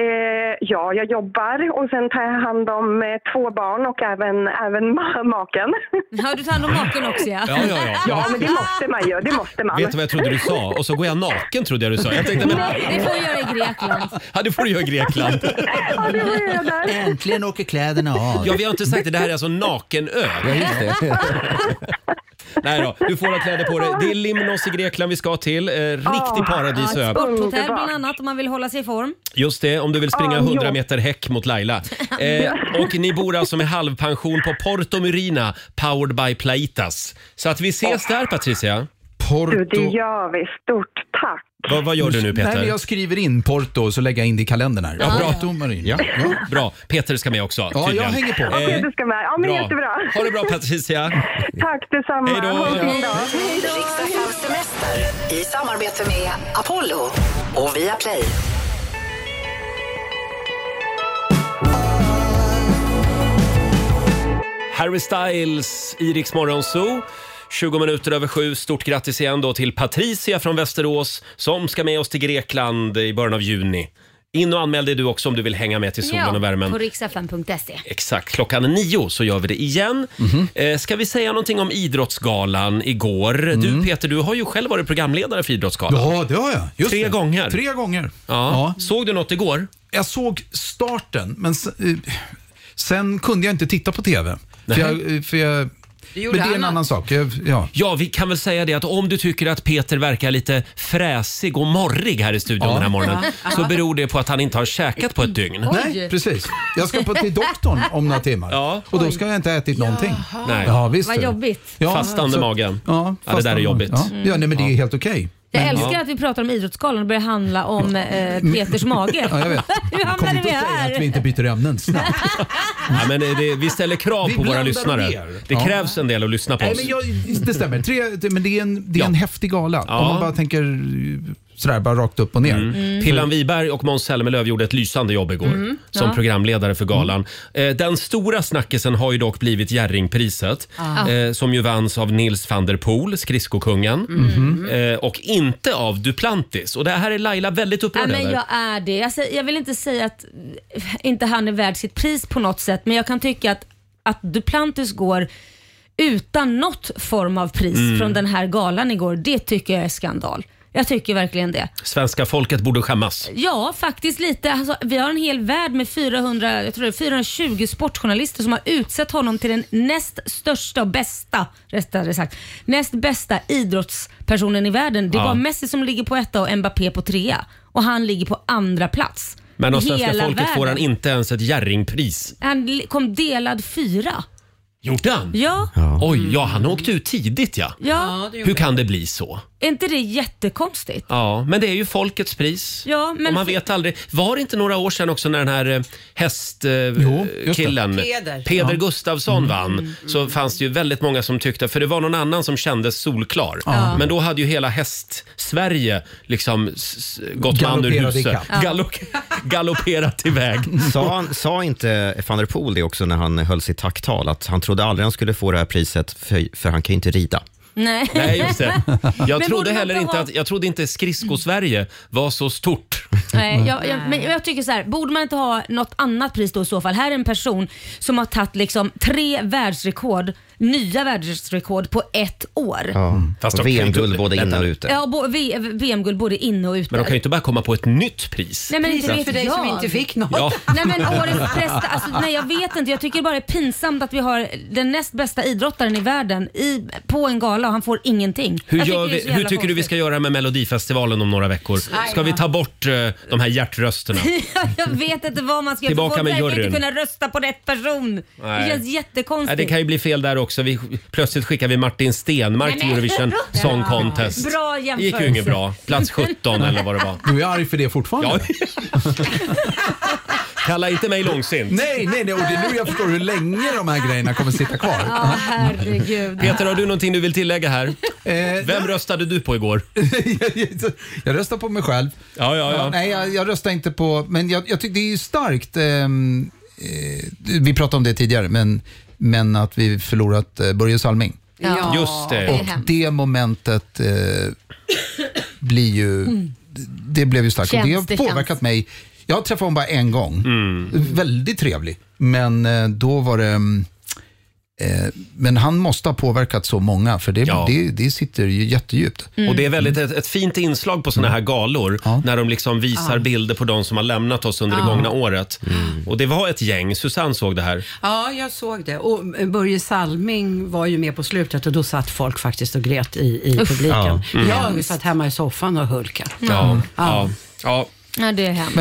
Eh, ja, jag jobbar och sen tar jag hand om eh, två barn och även, även (laughs) ma- maken.
Ja, du tar hand om maken också ja.
Ja, ja, ja.
Ja, men det måste man ju. Det måste man.
Vet du vad jag trodde du sa? Och så går jag naken trodde jag du sa. Jag tänkte, men,
Det får vi göra i Grekland.
ja, det får du göra i Grekland.
Ja, det var jag där.
Äntligen åker kläderna av.
Ja, vi har inte sagt det. Det här är alltså nakenö. Nej då, du får ha kläder på dig. Det är Limnos i Grekland vi ska till. Eh, riktig
Ja, ett
paradisö.
sporthotell
Underbart.
bland annat om man vill hålla sig i form.
Just det, om du vill springa
Ja,
100
ja.
meter häck mot Laila. Eh, och ni bor alltså med halvpension på Porto Murina, powered by Plaitas. Så att vi ses där Patricia.
Du, det
Porto.
gör vi. Stort tack.
Vad- vad gör du nu
Nej, men
Peter?
jag skriver in Porto så lägger jag in det i kalendern här. Ja, Porto Marin. Ja. Ja.
Bra, Peter ska med också.
jag
tydligen.
hänger på.
Eh,
Okej, du ska med. Ja, men jättebra.
bra. Ha det bra Patricia.
(laughs) Tack detsamma.
Hej då,
Ha en
hej då.
fin dag.
Riks-FMs semester i samarbete med Apollo och Viaplay.
Harry Styles i Rix Morgon Zoo. 20 minuter över sju. Stort grattis igen då till Patricia från Västerås som ska med oss till Grekland i början av juni. In och anmäl dig du också om du vill hänga med till solen och värmen. Eh,
på riksfn.se.
Exakt, klockan nio så gör vi det igen.
Mhm.
Eh, ska vi säga någonting om Idrottsgalan igår?
Mm.
Du Peter, du har ju själv varit programledare för Idrottsgalan.
ja, det har jag. Just
Tre
det.
gånger.
Tre gånger.
Ja.
Ja.
Såg du något igår?
Jag såg starten, men s- eh, sen kunde jag inte titta på TV. För jag, eh, för jag,
Du
Men
gjorde
det är en
annat.
annan sak. Jag- Ja.
Ja, vi kan väl säga det att om du tycker att Peter verkar lite fräsig och morrig här i studion den här morgonen
Ja.
så beror det på att han inte har käkat på ett dygn.
Nej, precis. Jag ska
(laughs)
på till doktorn om några timmar och då ska jag inte ha ätit någonting.
Nej.
Ja, visst
Vad
du.
jobbigt.
Fastande
så-
magen.
Ja,
Ja, det där är jobbigt.
Ja, ja nej, men det är helt okej.
Jag
Men-
älskar att vi pratar om Idrottsgalan och börjar handla om eh, Peters mage.
Mm. (laughs) Ja, jag vet.
(laughs) Hur
Kom
hamnade
inte
vi
och säg att vi
här?
inte byter ämnen snabbt.
Ja, men det, vi ställer krav på våra
blandar
lyssnare.
ner.
Det
Ja.
krävs en del att lyssna på
Nej,
oss.
men jag, det stämmer. Tre, det- men det är en, det är en häftig gala.
Ja. Mm.
Om man bara tänker eh, sådär, bara rakt upp och ner.
Mm.
Pillan Wiberg och Måns Zelmerlöw gjorde ett lysande jobb igår
Mm,
som
ja.
programledare för galan. Eh, Den stora snackisen har ju dock blivit Jerringpriset
Ah.
eh, som ju vanns av Nils van der Poel, skridskokungen,
Mm. Mm-hmm.
eh, och inte av Duplantis. Och det här är Laila väldigt
Ja,
upprörd
men
över.
jag är det. Jag, säger, jag vill inte säga att eh, inte han är värd sitt pris på något sätt, men jag kan tycka att, att Duplantis går utan något form av pris
Mm.
från den här galan igår. Det tycker jag är skandal. Jag tycker verkligen det.
Svenska folket borde skämmas.
Ja, faktiskt lite. Alltså, vi har en hel värld med 400, jag tror det är 420 sportjournalister som har utsett honom till den näst största och bästa, rättare sagt, näst bästa idrottspersonen i världen. Det är
Ja.
bara Messi som ligger på etta och Mbappé på trea och han ligger på andra plats.
Men av
I
svenska
hela
folket får han
världen.
inte ens ett Jerringpris.
Han li- kom delad fyra.
Gjorde han?
Ja.
Oj, ja han åkte ut tidigt ja.
Ja,
Hur kan det bli så?
Är inte det jättekonstigt?
Ja, men det är ju folkets pris.
Ja, men
och man vet aldrig. Var det inte några år sedan också när den här eh,
det.
hästkillen,
Peder.
Peder
Ja. Mm.
Gustafsson vann,
Mm.
så fanns det ju väldigt många som tyckte, för det var någon annan som kändes solklar.
Ja.
Men då hade ju hela häst-Sverige liksom s- s- gått man ur
Galopperat
huset.
ikapp. Ja.
Gallop- (laughs) galopperat iväg.
(laughs) Sa, han, sa inte van der Poel det också när han höll sitt tacktal, att han trodde aldrig han skulle få det här priset för, för han kan ju inte rida?
Nej.
Nej, just
(laughs)
det.
Men
Jag
borde
trodde
man
heller inte
ha-
att, jag trodde inte skridsko-Sverige var så stort.
Nej, jag, jag, men jag tycker så här, borde man inte ha något annat pris då i så fall? Här är en person som har tagit liksom tre världsrekord, nya världsrekord på ett år.
Ja.
Mm.
Fast de kan ju inte-
VM-guld både inne och ute.
Ja, bo- V- VM-guld både inne och ute.
Men de kan ju inte bara komma på ett nytt pris.
Nej men inte
Priset
vet
för dig
jag.
som inte fick något.
Ja.
(laughs) Nej men årets bästa, alltså, nej jag vet inte. Jag tycker bara det är pinsamt att vi har den näst bästa idrottaren i världen i, på en gala och han får ingenting.
Hur,
Jag
gör
det är
vi,
så
hur
jävla
tycker du vi ska göra med Melodifestivalen om några veckor?
Nej,
Ska vi
ja.
ta bort eh, de här
(laughs)
hjärtrösterna?
konstigt. jag vet inte vad man ska göra.
Tillbaka
Folk
med
verkar
juryn.
inte kunna rösta på rätt person.
Nej.
Det känns
Nej,
jättekonstigt.
det kan ju bli fel där också. Vi, plötsligt skickar vi Martin Stenmark
Nej,
till
men-
Eurovision Song Contest.
Bra
Det gick ju
jämförelse.
inget bra. Plats 17 eller vad det var.
Du är arg för det fortfarande?
Kalla inte mig långsint.
Nej, nej, nej. Och det är nu jag förstår hur länge de här grejerna kommer sitta kvar.
Ja, herregud.
Peter, har du någonting du vill tillägga här? Vem röstade du på igår?
Eh, (laughs) jag röstar på mig själv.
Ja, ja, ja.
nej, jag, jag röstar inte på... Men jag, jag tycker det är ju starkt. ehm, eh, vi pratade om det tidigare, men, men att vi förlorat eh, Börje Salming.
Ja. Just det. Det är
Och
hemskt.
det momentet eh, blir ju... Det blev ju starkt och det
Känns,
har
det
påverkat mig. Jag har träffat honom bara en gång.
Mm.
Väldigt trevlig. Men eh, då var det... mm, Eh, men han måste ha påverkat så många, för det,
Ja.
det, det sitter ju jättedjupt.
Mm.
Och det är väldigt ett, ett fint inslag på såna här galor när de liksom visar
Ja.
bilder på de som har lämnat oss under det
Ja. Mm.
gångna året. Och det var ett gäng. Susanne såg det här.
Ja, jag såg det. Och eh, Börje Salming var ju med på slutet och då satt folk faktiskt och grät i, i
Uff.
publiken.
Ja. Mm.
Jag satt hemma i soffan och hulkade.
Ja. Ja. ja.
Ja, det är hemskt.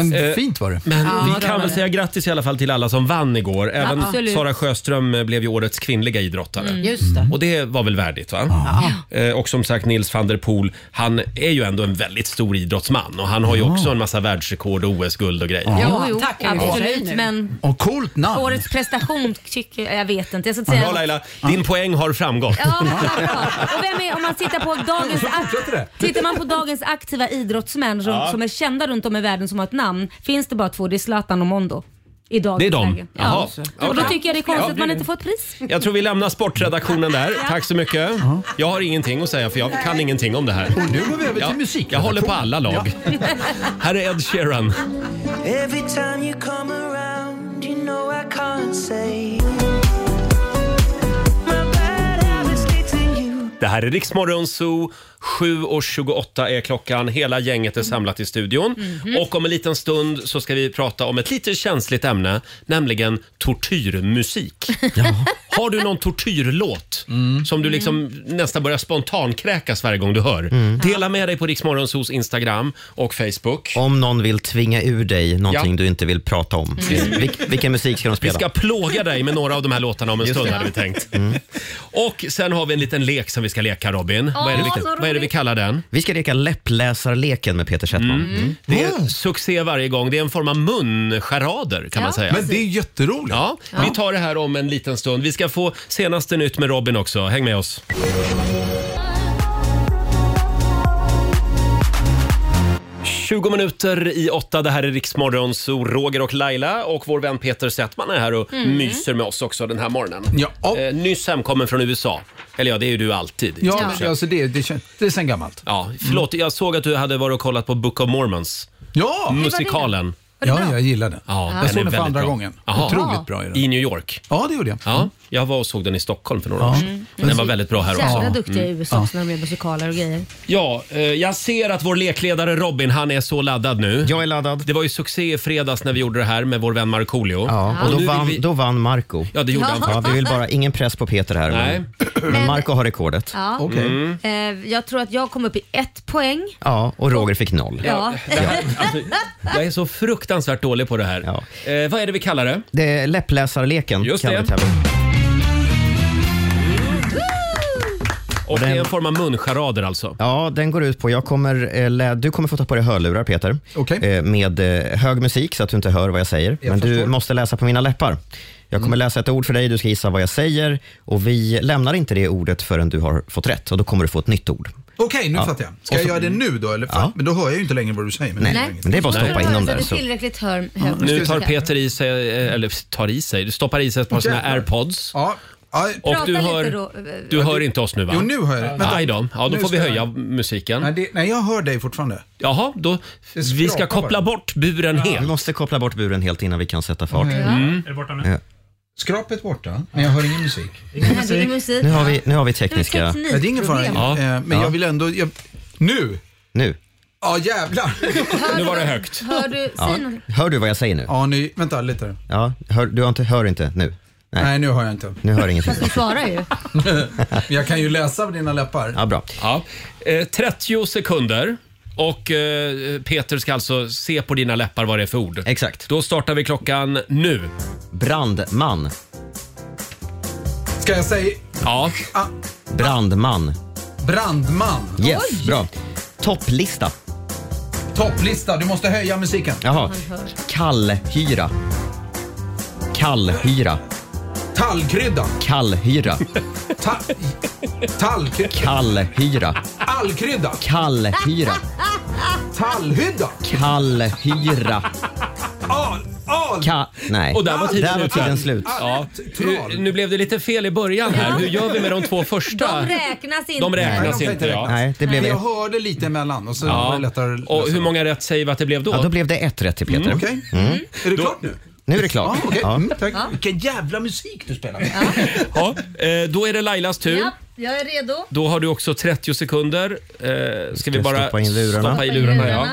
Eh, Men
Ja, det
vi
var
kan väl
det.
säga grattis i alla fall till alla som vann igår. Även
Absolut.
Sara Sjöström eh, blev ju årets kvinnliga idrottare.
Mm, just det.
Och det var väl värdigt va? Eh, Och som sagt Nils van der Poel, han är ju ändå en väldigt stor idrottsman och han har ju
Ja.
också en massa världsrekord och OS-guld och grejer.
Jo, jo,
tack.
absolut. Men
Och coolt namn.
årets prestation tycker jag, vet inte. Jag ska inte säga
Bra Laila, din poäng har framgått.
Ja, Och vem är, om man tittar på dagens, ak- tittar man på dagens aktiva idrottsmän som,
Ja.
som är kända runt om i världen som har ett namn, finns det bara två. Det är Zlatan och Mondo. I dagens
Det är de?
läge.
Jaha.
Ja. Och då
Okej.
tycker jag det är konstigt
Ja.
att man inte får ett pris.
Jag tror vi lämnar sportredaktionen där. Tack så mycket. Jag har ingenting att säga för jag kan ingenting om det här.
Och nu går vi över till
Ja,
musik.
Jag håller på alla lag. Här är Ed Sheeran.
Every time you come around, you know I can't say.
Det här är Riksmorgon Zoo. 7.28 är klockan. Hela gänget är samlat i studion.
Mhm.
Och om en liten stund så ska vi prata om ett lite känsligt ämne, nämligen tortyrmusik. Har du någon tortyrlåt som du liksom nästan börjar spontankräkas varje gång du hör? Dela med dig på Riksmorgonsos Instagram och Facebook.
Om någon vill tvinga ur dig någonting
Ja. Mm.
du inte vill prata om, vil- vilken musik ska de
Vi
spela?
ska plåga dig med några av de här låtarna om en
Just
stund
det. Mm.
hade vi tänkt. Och sen har vi en liten lek som vi ska leka Robin.
Åh,
vad, är det vi,
så
vad är det vi
roligt.
kallar den?
Vi ska leka läppläsarleken med Peter Settman.
Mm. Det är succé varje gång. Det är en form av muncharader kan
Ja.
man säga.
Men det är
jätteroligt. Ja,
Ja.
vi tar det här om en liten stund. Vi ska få senaste nytt med Robin också. Häng med oss. ...20 minuter i åtta. Det här är Riksmorgon, så Roger och Laila och vår vän Peter Settman är här och
Mm.
myser med oss också den här morgonen. Ja. Eh, nyss hemkommen från USA. Eller ja, det är ju du alltid. i
Ja,
stort sett.
alltså det, det, kän- det är sen gammalt.
Ja, förlåt, jag såg att du hade varit och kollat på Book of Mormons.
Mm. Ja!
Musikalen.
Ja, jag gillar den.
Ja,
jag såg
är
den för
väldigt
andra
bra.
gången.
Jaha.
Otroligt bra är den.
I New York?
Ja, det gjorde jag. Mm.
Ja, jag var och såg den i Stockholm för några år sedan. Den var väldigt bra här också.
Jävla duktiga i
Mm.
USA också när de gör musikaler och grejer.
Ja, eh, jag ser att vår lekledare Robin, han är så laddad nu. Jag är laddad. Det var ju succé i fredags när vi gjorde det här med vår vän Markoolio.
Ja, och då
nu vill
vann,
vi-
då vann Marco
Ja, det gjorde han
Ja,
faktiskt.
vi vill bara, ingen press på Peter här.
Nej. Mm.
Men, men Marco har rekordet.
Ja. Eh, jag tror att jag kom upp i ett poäng.
Ja, och Roger fick noll.
Ja.
det
(laughs)
här- alltså, jag är så fruktansvärt dålig på det här. Eh, vad är det vi kallar det?
Det är läppläsarleken.
Just
kan
det.
vi tävla om.
Och det är en form av muncharader alltså?
Ja, den går ut på... Jag kommer, eh, lä- du kommer få ta på dig hörlurar, Peter. Eh, Med eh, hög musik, så att du inte hör vad jag säger. Men du måste läsa på mina läppar. Jag kommer
Mm.
läsa ett ord för dig, du ska gissa vad jag säger. Och Vi lämnar inte det ordet förrän du har fått rätt. Och Då kommer du få ett nytt ord.
Okej, nu
Ja.
fattar jag. Ska
Och
jag
så-
göra det nu då? Eller? Fan, Men då hör jag ju inte längre vad du säger. Men
Nej, men det är bara att stoppa in dem där,
Det är
så-
tillräckligt hör, hög
Nu
musik.
tar Peter i sig, eh, eller tar i sig, du stoppar i sig ett par såna här airpods. Och
Prata
du
lite
hör,
då.
du hör inte oss nu va?
eh, Jo, nu hör jag det. Vänta.
Aj då. Ja, då
Nu
får
ska
vi höja
jag-
musiken.
Nej, det, nej, jag hör dig fortfarande.
Jaha, då, vi ska koppla bort buren helt.
Vi måste koppla bort buren helt innan vi kan sätta fart.
Okej. Mm. Är det
borta
nu? Skrapet borta, men jag hör ingen musik.
Nej, det är musik.
Nu har vi, nu har vi tekniska...
Ja, det är ingen fara.
Ja.
Eh, Men
Ja.
jag vill ändå... Jag, nu!
Nu.
Ja, jävlar.
Nu var det högt.
Hör du, säg
Ja.
någonting.
Hör du vad jag säger nu?
Ja, nu, vänta lite.
Ja, hör, du har inte, hör inte nu? Nej.
nu hör jag inte.
Nu
(laughs)
hör ingenting.
Du svarar ju.
jag kan ju läsa av dina läppar.
Ja, bra.
Ja. Eh, 30 sekunder. Och eh, Peter ska alltså se på dina läppar vad det är för ord.
Exakt.
Då startar vi klockan nu.
Brandman.
Ska jag säga Ah.
Ja.
Brandman.
brandman?
Yes, bra. Topplista.
Topplista, du måste höja musiken.
Jaha. Kallhyra. Kallhyra.
Tallkrydda.
Kallhyra.
Ta, tallkrydda.
Kallhyra.
Allkrydda.
Kallhyra.
Tallhydda.
Kallhyra.
Al. Al.
Ka- nej.
Och där var tiden,
där var
ute.
tiden slut.
Ja. Nu, nu blev det lite fel i början här. Hur gör vi med de två första?
De räknas inte.
De räknas
Nej, de
inte. Ja.
Nej, det blev
Men jag
ett.
hörde lite emellan och så var det
Ja.
lättare.
Och hur många rätt säger vi att det blev då?
Ja, då blev det ett rätt till Peter.
Mm, okej.
Mm.
Är det klart nu?
Nu är det klart.
Ja, okej.
Ja.
Mm, tack. Vilken jävla musik du spelar.
Ja, eh, då är det Lailas tur.
Ja, jag är redo.
Då har du också 30 sekunder. Eh, ska vi
jag
bara
stoppa in lurarna?
stoppa i lurarna, ja.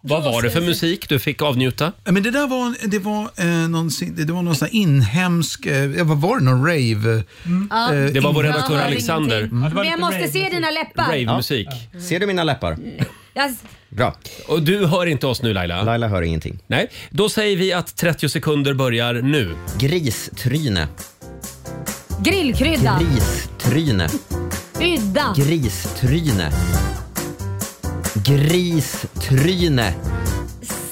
Vad var det för musik du fick avnjuta?
Ja, Men det där var, det var, eh, någon, sin- det var någon sån här inhemsk, eh, ja, vad var det, någon rave? eh,
Ja.
eh,
Mm. Det var vår
in-
redaktör
Ja,
Alexander.
Men jag måste se dina läppar.
Rave-musik.
Ser du mina läppar?
Jag,
Bra.
Och du hör (laughs) inte oss nu Laila?
Laila hör ingenting.
Nej, då säger vi att 30 sekunder börjar nu.
Gristryne.
grillkrydda.
Gristryne.
Ydda.
Gristryne. Gristryne.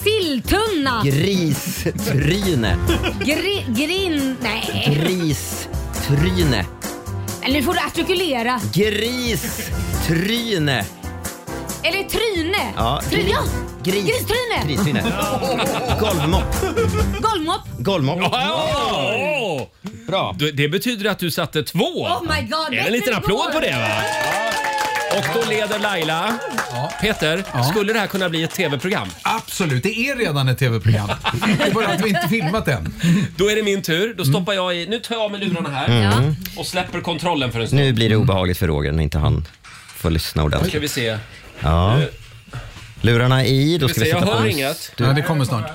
Silltunna.
Gristryne.
Gri, grin... Nej.
Gristryne.
Men Nu får du artikulera.
Gristryne.
Eller tryne.
Ja,
Tryne. Ja.
gris-
Gristryne.
(laughs)
gristryne. Golvmopp.
Golvmopp.
Golvmopp.
Oh!
Bra.
Du- Det betyder att du satte två.
Oh my God,
Det är
bättre
en liten
än
applåd på
igår.
det va? Och då leder Laila. Peter, skulle det här kunna bli ett tv-program?
Absolut, det är redan ett
(laughs)
tv-program. Det är bara att vi inte Mm. filmat än.
(laughs) Då är det min tur. Då stoppar jag i... Nu tar jag av mig lurarna här
Mm.
och släpper kontrollen för en stund.
Nu blir det obehagligt för Roger när inte han får lyssna
Nu ska
ordentligt.
vi se.
Ja. Lurarna i, då
Ska
ska
vi
vi
se,
sätta
jag
på
hör
mus-
inget.
Du-
Nej, det kommer snart.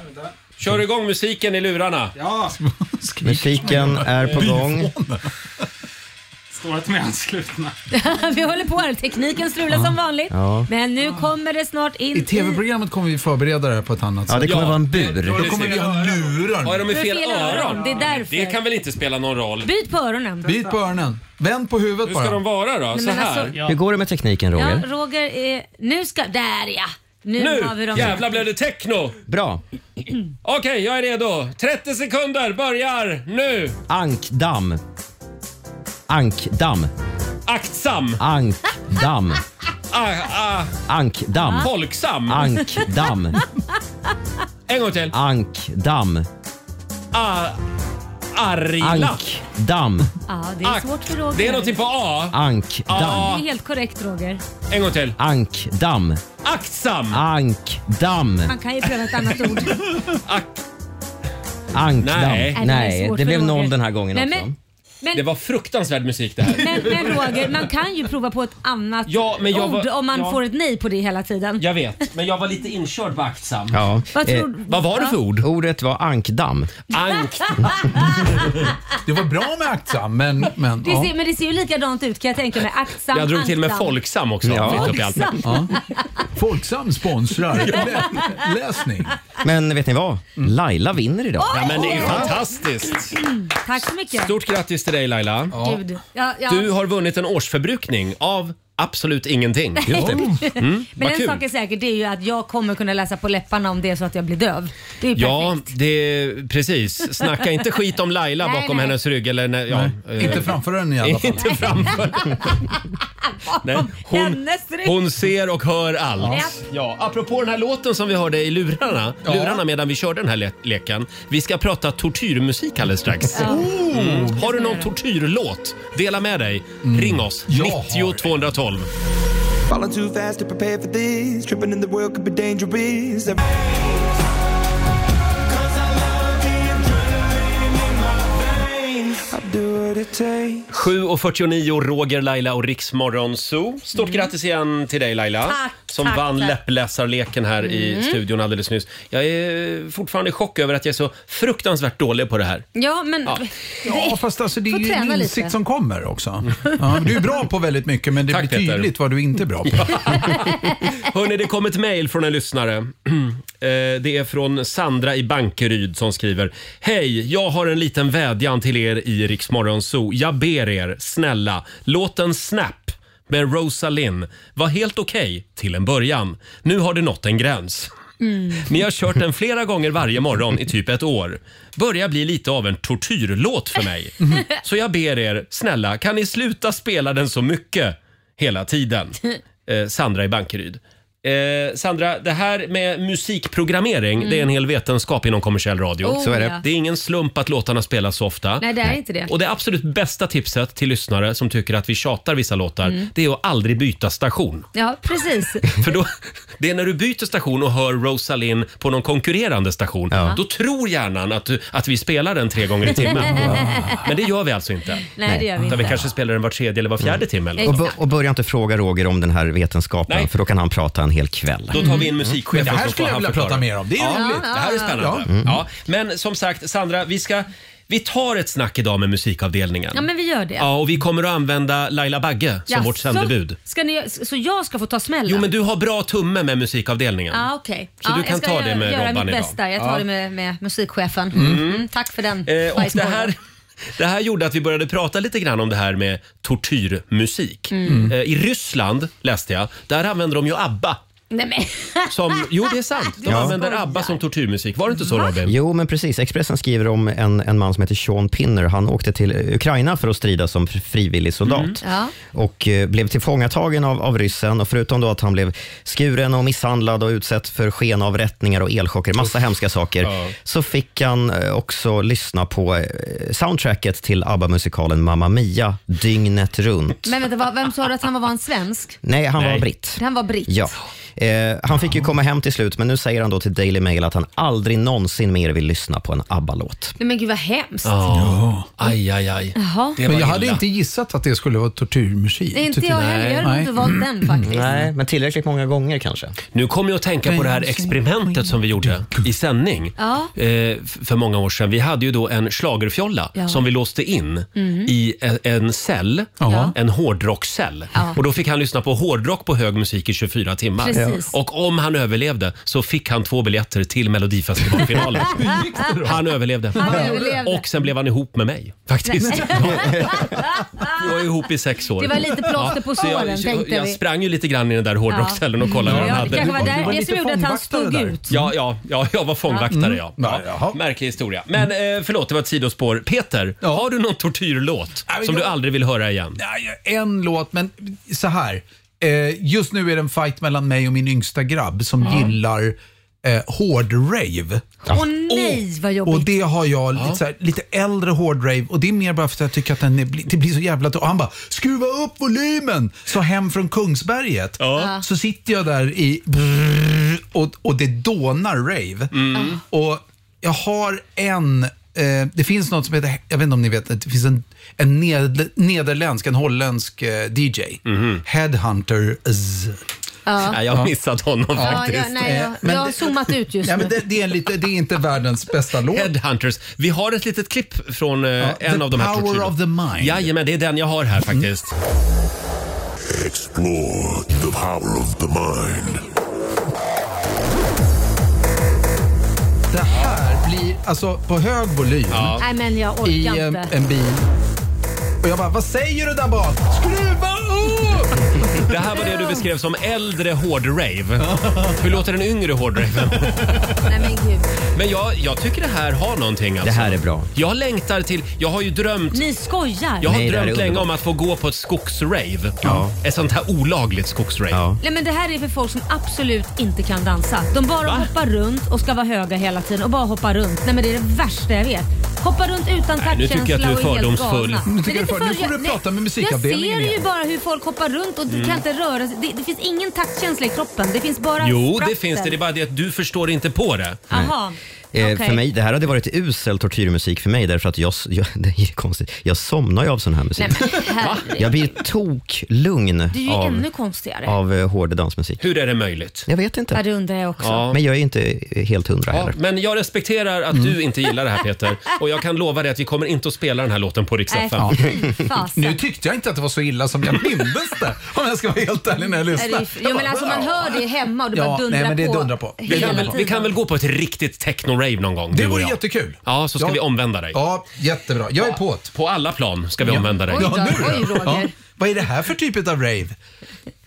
Kör igång musiken i lurarna. Ja.
Musiken är på gång.
Står att de är anslutna.
(laughs) Vi håller på här. Tekniken strular
Ja.
som vanligt.
Ja.
Men nu kommer det snart in
I tv-programmet kommer vi förbereda det här på ett annat sätt.
Ja, det kommer vara en bur.
Då kommer vi ha lurar.
Har de i
Du har
fel
fel
öron?
öron, det är därför.
Det kan väl inte spela någon roll?
Byt på öronen.
Byt på öronen. Vänd på huvudet
Hur ska
bara.
de vara då?
men
Så här?
alltså- Ja.
Hur går det med tekniken
Ja,
Roger?
Roger, eh, nu ska... Där ja! Nu, har vi
Nu
dem.
jävlar blev det techno!
Bra.
Okej, jag är redo. 30 sekunder börjar nu.
Ankdamm. Ankdamm.
Aktsam.
Ankdamm.
Ah, ah.
Ankdamm.
Folksam.
Ankdamm.
En gång till.
Ankdamm.
Ah, arila.
Ankdamm.
Ja, det är svårt för Roger.
Det är någonting på Ah. A.
Ja,
Ankdamm.
det är helt korrekt Roger.
En gång till.
Ankdamm.
Aktsam.
Ankdamm.
Han kan ju pröva ett annat
(laughs)
ord.
Ankdamm.
Nej.
är
Nej,
svårt
det
för
blev noll
Roger.
den här gången
Nej,
också.
men, men,
Det var fruktansvärd musik det här.
men, men Roger, man kan ju prova på ett annat
Ja, men jag
ord
var-
om man
ja.
får ett nej på det hela tiden.
Jag vet, men jag var lite inkörd på aktsam.
Ja.
Vad tror du- Vad var det för
ord?
Eh, Ordet var ankdamm.
Ank.
Det var bra med aktsam, men... men
(laughs) Det ser, men det ser ju likadant ut kan jag tänka mig. Aktsam,
Jag drog till med
ankdam. (laughs)
Folksam också.
Ja.
Mitt uppe i allt.
Ja. Folksam sponsrar Lä- läsning.
Men vet ni vad? Laila vinner idag.
Ja, men det är ju fantastiskt.
Tack så mycket.
Stort grattis till dig Laila.
Gud. Ja, ja.
Du
(laughs)
har vunnit en årsförbrukning av absolut ingenting.
Just det.
Mm,
men
vad
en
kul.
sak är säker, det är ju att jag kommer kunna läsa på läpparna om det är så att jag blir döv. Det är ju
Ja, det, precis. Snacka inte skit om Laila
Nej,
bakom
nej.
hennes rygg. Eller, nej, ja, eh,
Inte framför den i alla fall.
Inte framför.
(laughs)
nej, hon,
Hennes rygg.
hon ser och hör allt.
Ja.
Ja, apropå den här låten som vi hörde i lurarna, lurarna medan vi körde den här le- leken. Vi ska prata tortyrmusik alldeles strax. Mm. Har du någon tortyrlåt? Dela med dig.
Mm.
Ring oss. 90 212.
Falling too fast to prepare for this. Tripping in the world could be dangerous. I'll do what it takes.
7.49, Roger, Laila och Riksmorgon Zoo. Stort grattis igen till dig Laila.
Mm. Tack,
som
tack,
vann
tack.
läppläsarleken här i
Mm.
studion alldeles nyss. Jag är fortfarande i chock över att jag är så fruktansvärt dålig på det här.
Ja, men...
Ja.
Ja, fast alltså, det är
Får
ju en
träna
insikt
lite. Mm.
som kommer också. Ja, du är bra på väldigt mycket, men det
Tack,
blir
Peter.
tydligt vad du inte är bra på.
Hörni, det kom ett mejl från en lyssnare. (clears throat) Eh, Det är från Sandra i Bankeryd som skriver. Hej, jag har en liten vädjan till er i Rix Morgon Zoo. Jag ber er, snälla, låt en snap med Rosalind var helt okej till en början. Nu har det nått en gräns.
Mm.
Men jag har kört den flera gånger varje morgon i typ ett år. Börjar bli lite av en tortyrlåt för mig. (laughs) Så jag ber er, snälla, kan ni sluta spela den så mycket hela
(laughs)
tiden? Eh, Sandra i Bankeryd. Eh, Sandra, det här med musikprogrammering, det är en hel vetenskap inom kommersiell radio.
Mm. Oh, Så är det. ja.
Det är ingen slump att låtarna spelas så ofta.
Nej, det är inte det.
Och det absolut bästa tipset till lyssnare som tycker att vi tjatar vissa låtar,
Mm.
det är att aldrig byta station.
Ja, precis.
För då, (laughs) det är när du byter station och hör Rosalind på någon konkurrerande station.
Ja.
Då tror hjärnan att, att vi spelar den tre gånger i
(laughs)
timmen. Men det gör vi alltså inte.
Nej, det gör vi
Utan vi
inte. Mm.
kanske spelar den var tredje eller var fjärde timme. Eller
Och,
något.
bör- och börja inte fråga Roger om den här vetenskapen,
Nej.
för då kan han prata en hel kväll.
Då tar vi in musikchefen.
Men det här
så får
skulle jag
han
vilja
förklara.
prata mer om. Det är
ja,
roligt.
Det här är spännande. Ja.
Ja. Mm.
Men som sagt, Sandra, vi ska... Vi tar ett snack idag med musikavdelningen.
Ja, men vi gör det.
Ja, och vi kommer att använda Laila Bagge som
Jaså?
vårt sändebud.
Ska ni, så jag ska få ta smällen?
Jo, men du har bra tumme med musikavdelningen.
Ja, okej.
Så
ja,
du kan
jag ska
ta
göra-
det med
göra
Robban
mitt
idag.
bästa. Jag tar
Ja.
det med, med musikchefen.
Mm.
Mm, tack för den.
Eh, och det,
bajsmorgon.
här, (laughs) det här gjorde att vi började prata lite grann om det här med tortyrmusik.
Mm.
Eh, I Ryssland läste jag, där använder de ju ABBA.
(laughs) Nej, men.
Som, jo, det är sant. De
Ja.
använder ABBA som tortyrmusik. Var det inte så Robin?
Jo, men precis. Expressen skriver om en, en man som heter Sean Pinner. Han åkte till Ukraina för att strida som frivillig soldat.
Ja.
och eh, blev tillfångatagen av, av ryssen. Och förutom då att han blev skuren och misshandlad och utsatt för skenavrättningar och elchocker, massa hemska saker, så fick han eh, också lyssna på eh, soundtracket till ABBA-musikalen Mamma Mia dygnet runt.
men vänta, vad- vem sa du att han var? Var han svensk?
Nej, han var britt.
Han var britt.
Ja. Eh, han fick ju komma hem till slut, men nu säger han då till Daily Mail att han aldrig någonsin mer vill lyssna på en ABBA-låt.
Nej men gud vad hemskt.
aj, aj, aj.
Jaha.
Men jag hade inte gissat att det skulle vara tortyrmusik.
Nej, inte jag heller. Jag hade nog inte valt den faktiskt.
Nej, men tillräckligt många gånger kanske.
Nu kommer jag att tänka på det här experimentet som vi gjorde i sändning
Ja.
eh, f- för många år sedan. Vi hade ju då en schlagerfjolla
Ja.
som vi låste in
Mm.
i e- en cell,
Ja.
en hårdrockscell.
Ja. (laughs)
Och då fick han lyssna på hårdrock på hög musik i 24 timmar.
Precis.
Och om han överlevde så fick han två biljetter till
(laughs)
Melodifestivalfinalen. (laughs) han överlevde.
Han överlevde.
Och sen blev han ihop med mig faktiskt.
Nej.
Vi var ihop i sex år.
Ah. Det var lite plåster på
så jag-
såren, tänkte
Jag
vi.
sprang ju lite grann i den där hårdrockscellen och kollade
Ja,
vad han
Det
hade.
kanske var där, det som gjorde att han stod
fångvaktare
ut.
Ja, ja, ja, jag var fångvaktare
Mm.
ja. ja. Märklig historia. Men eh, förlåt, det var ett sidospår. Peter, har du någon tortyrlåt
men
som du
jag-
aldrig vill höra igen?
en låt, men så här. Eh, just nu är det en fight mellan mig och min yngsta grabb som gillar eh, hårdrave.
Åh nej vad jobbigt.
Och det har jag lite, så här, lite äldre hårdrave och det är mer bara för att jag tycker att den är, bli- det blir så jävla Och han bara “skruva upp volymen!” Så hem från Kungsberget
Ja.
så sitter jag där i brrrr, och, och det dånar rave.
Mm.
Mm.
Och jag har en Eh, det finns något som heter, jag vet inte om ni vet, det finns en, en ned, nederländsk, en holländsk eh, DJ. Headhunter Z.
Ja.
Mhm. Nej, jag har missat honom
Ja,
faktiskt.
Ja, jag, nej,
Eh,
jag,
men
jag har
det-
zoomat ut just
Ja,
nu.
men det, det, är lite, det är inte världens bästa låt.
Headhunters. Vi har ett litet klipp från eh, en
The
av de här
Power
tortyrlåtarna.
of the Mind.
Jajamän, det är den jag har här faktiskt.
Explore the power of the mind.
Det här blir alltså på hög volym
Nej men jag orkar
i ehm, en,
inte.
en bil. Och jag bara, vad säger du där bak? Skruva upp!
Det här var det du beskrev som äldre hårdrave. Hur låter den yngre hårdraven?
Nej men gud.
Men jag, jag tycker det här har någonting alltså.
Det här är bra.
Jag längtar till, jag har ju drömt
Ni skojar.
Jag har
Nej, det här är
drömt länge
underbart.
om att få gå på ett skogsrave. Ett sånt här olagligt skogsrave.
Nej men det här är för folk som absolut inte kan dansa. De bara hoppar runt och ska vara höga hela tiden och bara hoppar runt. Nej men det är det värsta jag vet. Hoppa runt utan taktkänsla
nu tycker jag att du är
och helt
fördomsfull.
galna.
Nu tycker
Men
jag
det är
du är för- nu
inte
får
fördomsfull.
du
Nej,
prata med musikavdelningen
Jag ser ju
igen.
bara hur folk hoppar runt och
Mm.
kan inte röra sig. Det, det finns ingen taktkänsla i kroppen. Det finns bara
Jo, det
spratten.
finns det. Det är bara det att du förstår inte på det.
Aha.
Eh,
Okej.
För mig, det här hade varit usel tortyrmusik för mig därför att jag, (laughs) jag, det är konstigt, jag somnar ju av sån här musik.
Nej, men, herregud.
Jag blir toklugn
Det är ju
av,
ännu konstigare.
av eh, hård dansmusik.
Hur är det möjligt?
Jag vet inte.
Ja, det undrar jag också.
Ja.
Men jag är inte helt hundra
Ja,
heller.
men jag respekterar att du inte gillar det här Peter. Och jag kan lova dig att vi kommer inte att spela den här låten på Rix
Nej,
FM.
fy fasen.
Nu tyckte jag inte att det var så illa som jag mindes det. Om jag ska vara helt ärlig när jag
Är det-
lyssnar.
Jo men alltså man hör det hemma och det bara
Ja,
dundrar
nej, men det
på.
dundrar på.
Vi kan,
hela
väl, vi
tiden.
kan väl gå på ett riktigt techno-rave någon gång?
Det
du och
vore
jag.
jättekul.
Ja, så ska
Ja.
vi omvända dig.
Ja, jättebra. Jag är på
På alla plan ska vi omvända dig.
Oj då, oj, Roger.
Vad är det här för typ av rave?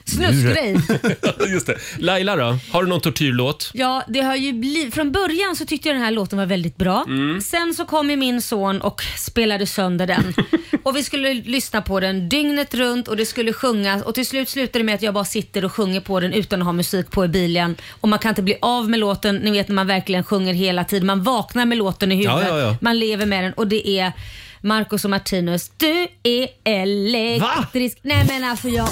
Snuskgrej.
(laughs) Just det. Laila då? Har du någon tortyrlåt?
Ja, det har ju blivit... Från början så tyckte jag den här låten var väldigt bra.
Mm.
Sen så kom ju min son och spelade sönder
(laughs)
den. och vi skulle lyssna på den dygnet runt och det skulle sjungas och till slut slutade det med att jag bara sitter och sjunger på den utan att ha musik på i bilen. Och man kan inte bli av med låten, ni vet när man verkligen sjunger hela tiden. Man vaknar med låten i huvudet,
Ja, ja, ja.
man lever med den och det är Marcus och Martinus, du är elektrisk. Nej men alltså jag...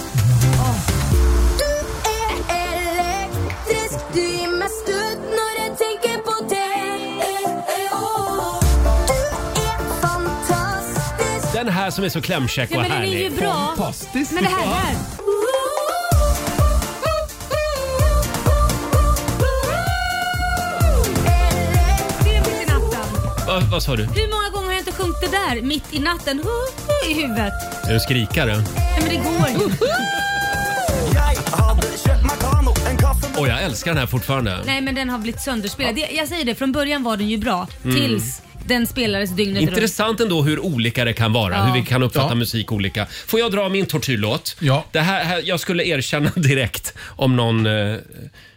Elektrisk, du gir meg skudd når jeg tenker på deg.
Den här som är så klämkäck
Ja,
och
men den är
härlig.
ju bra.
Fantastisk.
Men det här är...
Det är mitt i natten.
Va, vad sa du?
Hur många gånger har jag inte sjungit det där mitt i natten Hu, hu, i huvudet?
Är du skrikare?
Nej men det går ju.
Och jag älskar den här fortfarande.
Nej men den har blivit sönderspelad. Det, jag säger det, från början var den ju bra
Mm.
tills den spelades dygnet runt.
Intressant ändå hur olika det kan vara,
Ja.
hur vi kan uppfatta
Ja.
musik olika. Får jag dra min tortyrlåt? Ja. Det här, här, jag skulle erkänna (laughs) direkt om någon eh,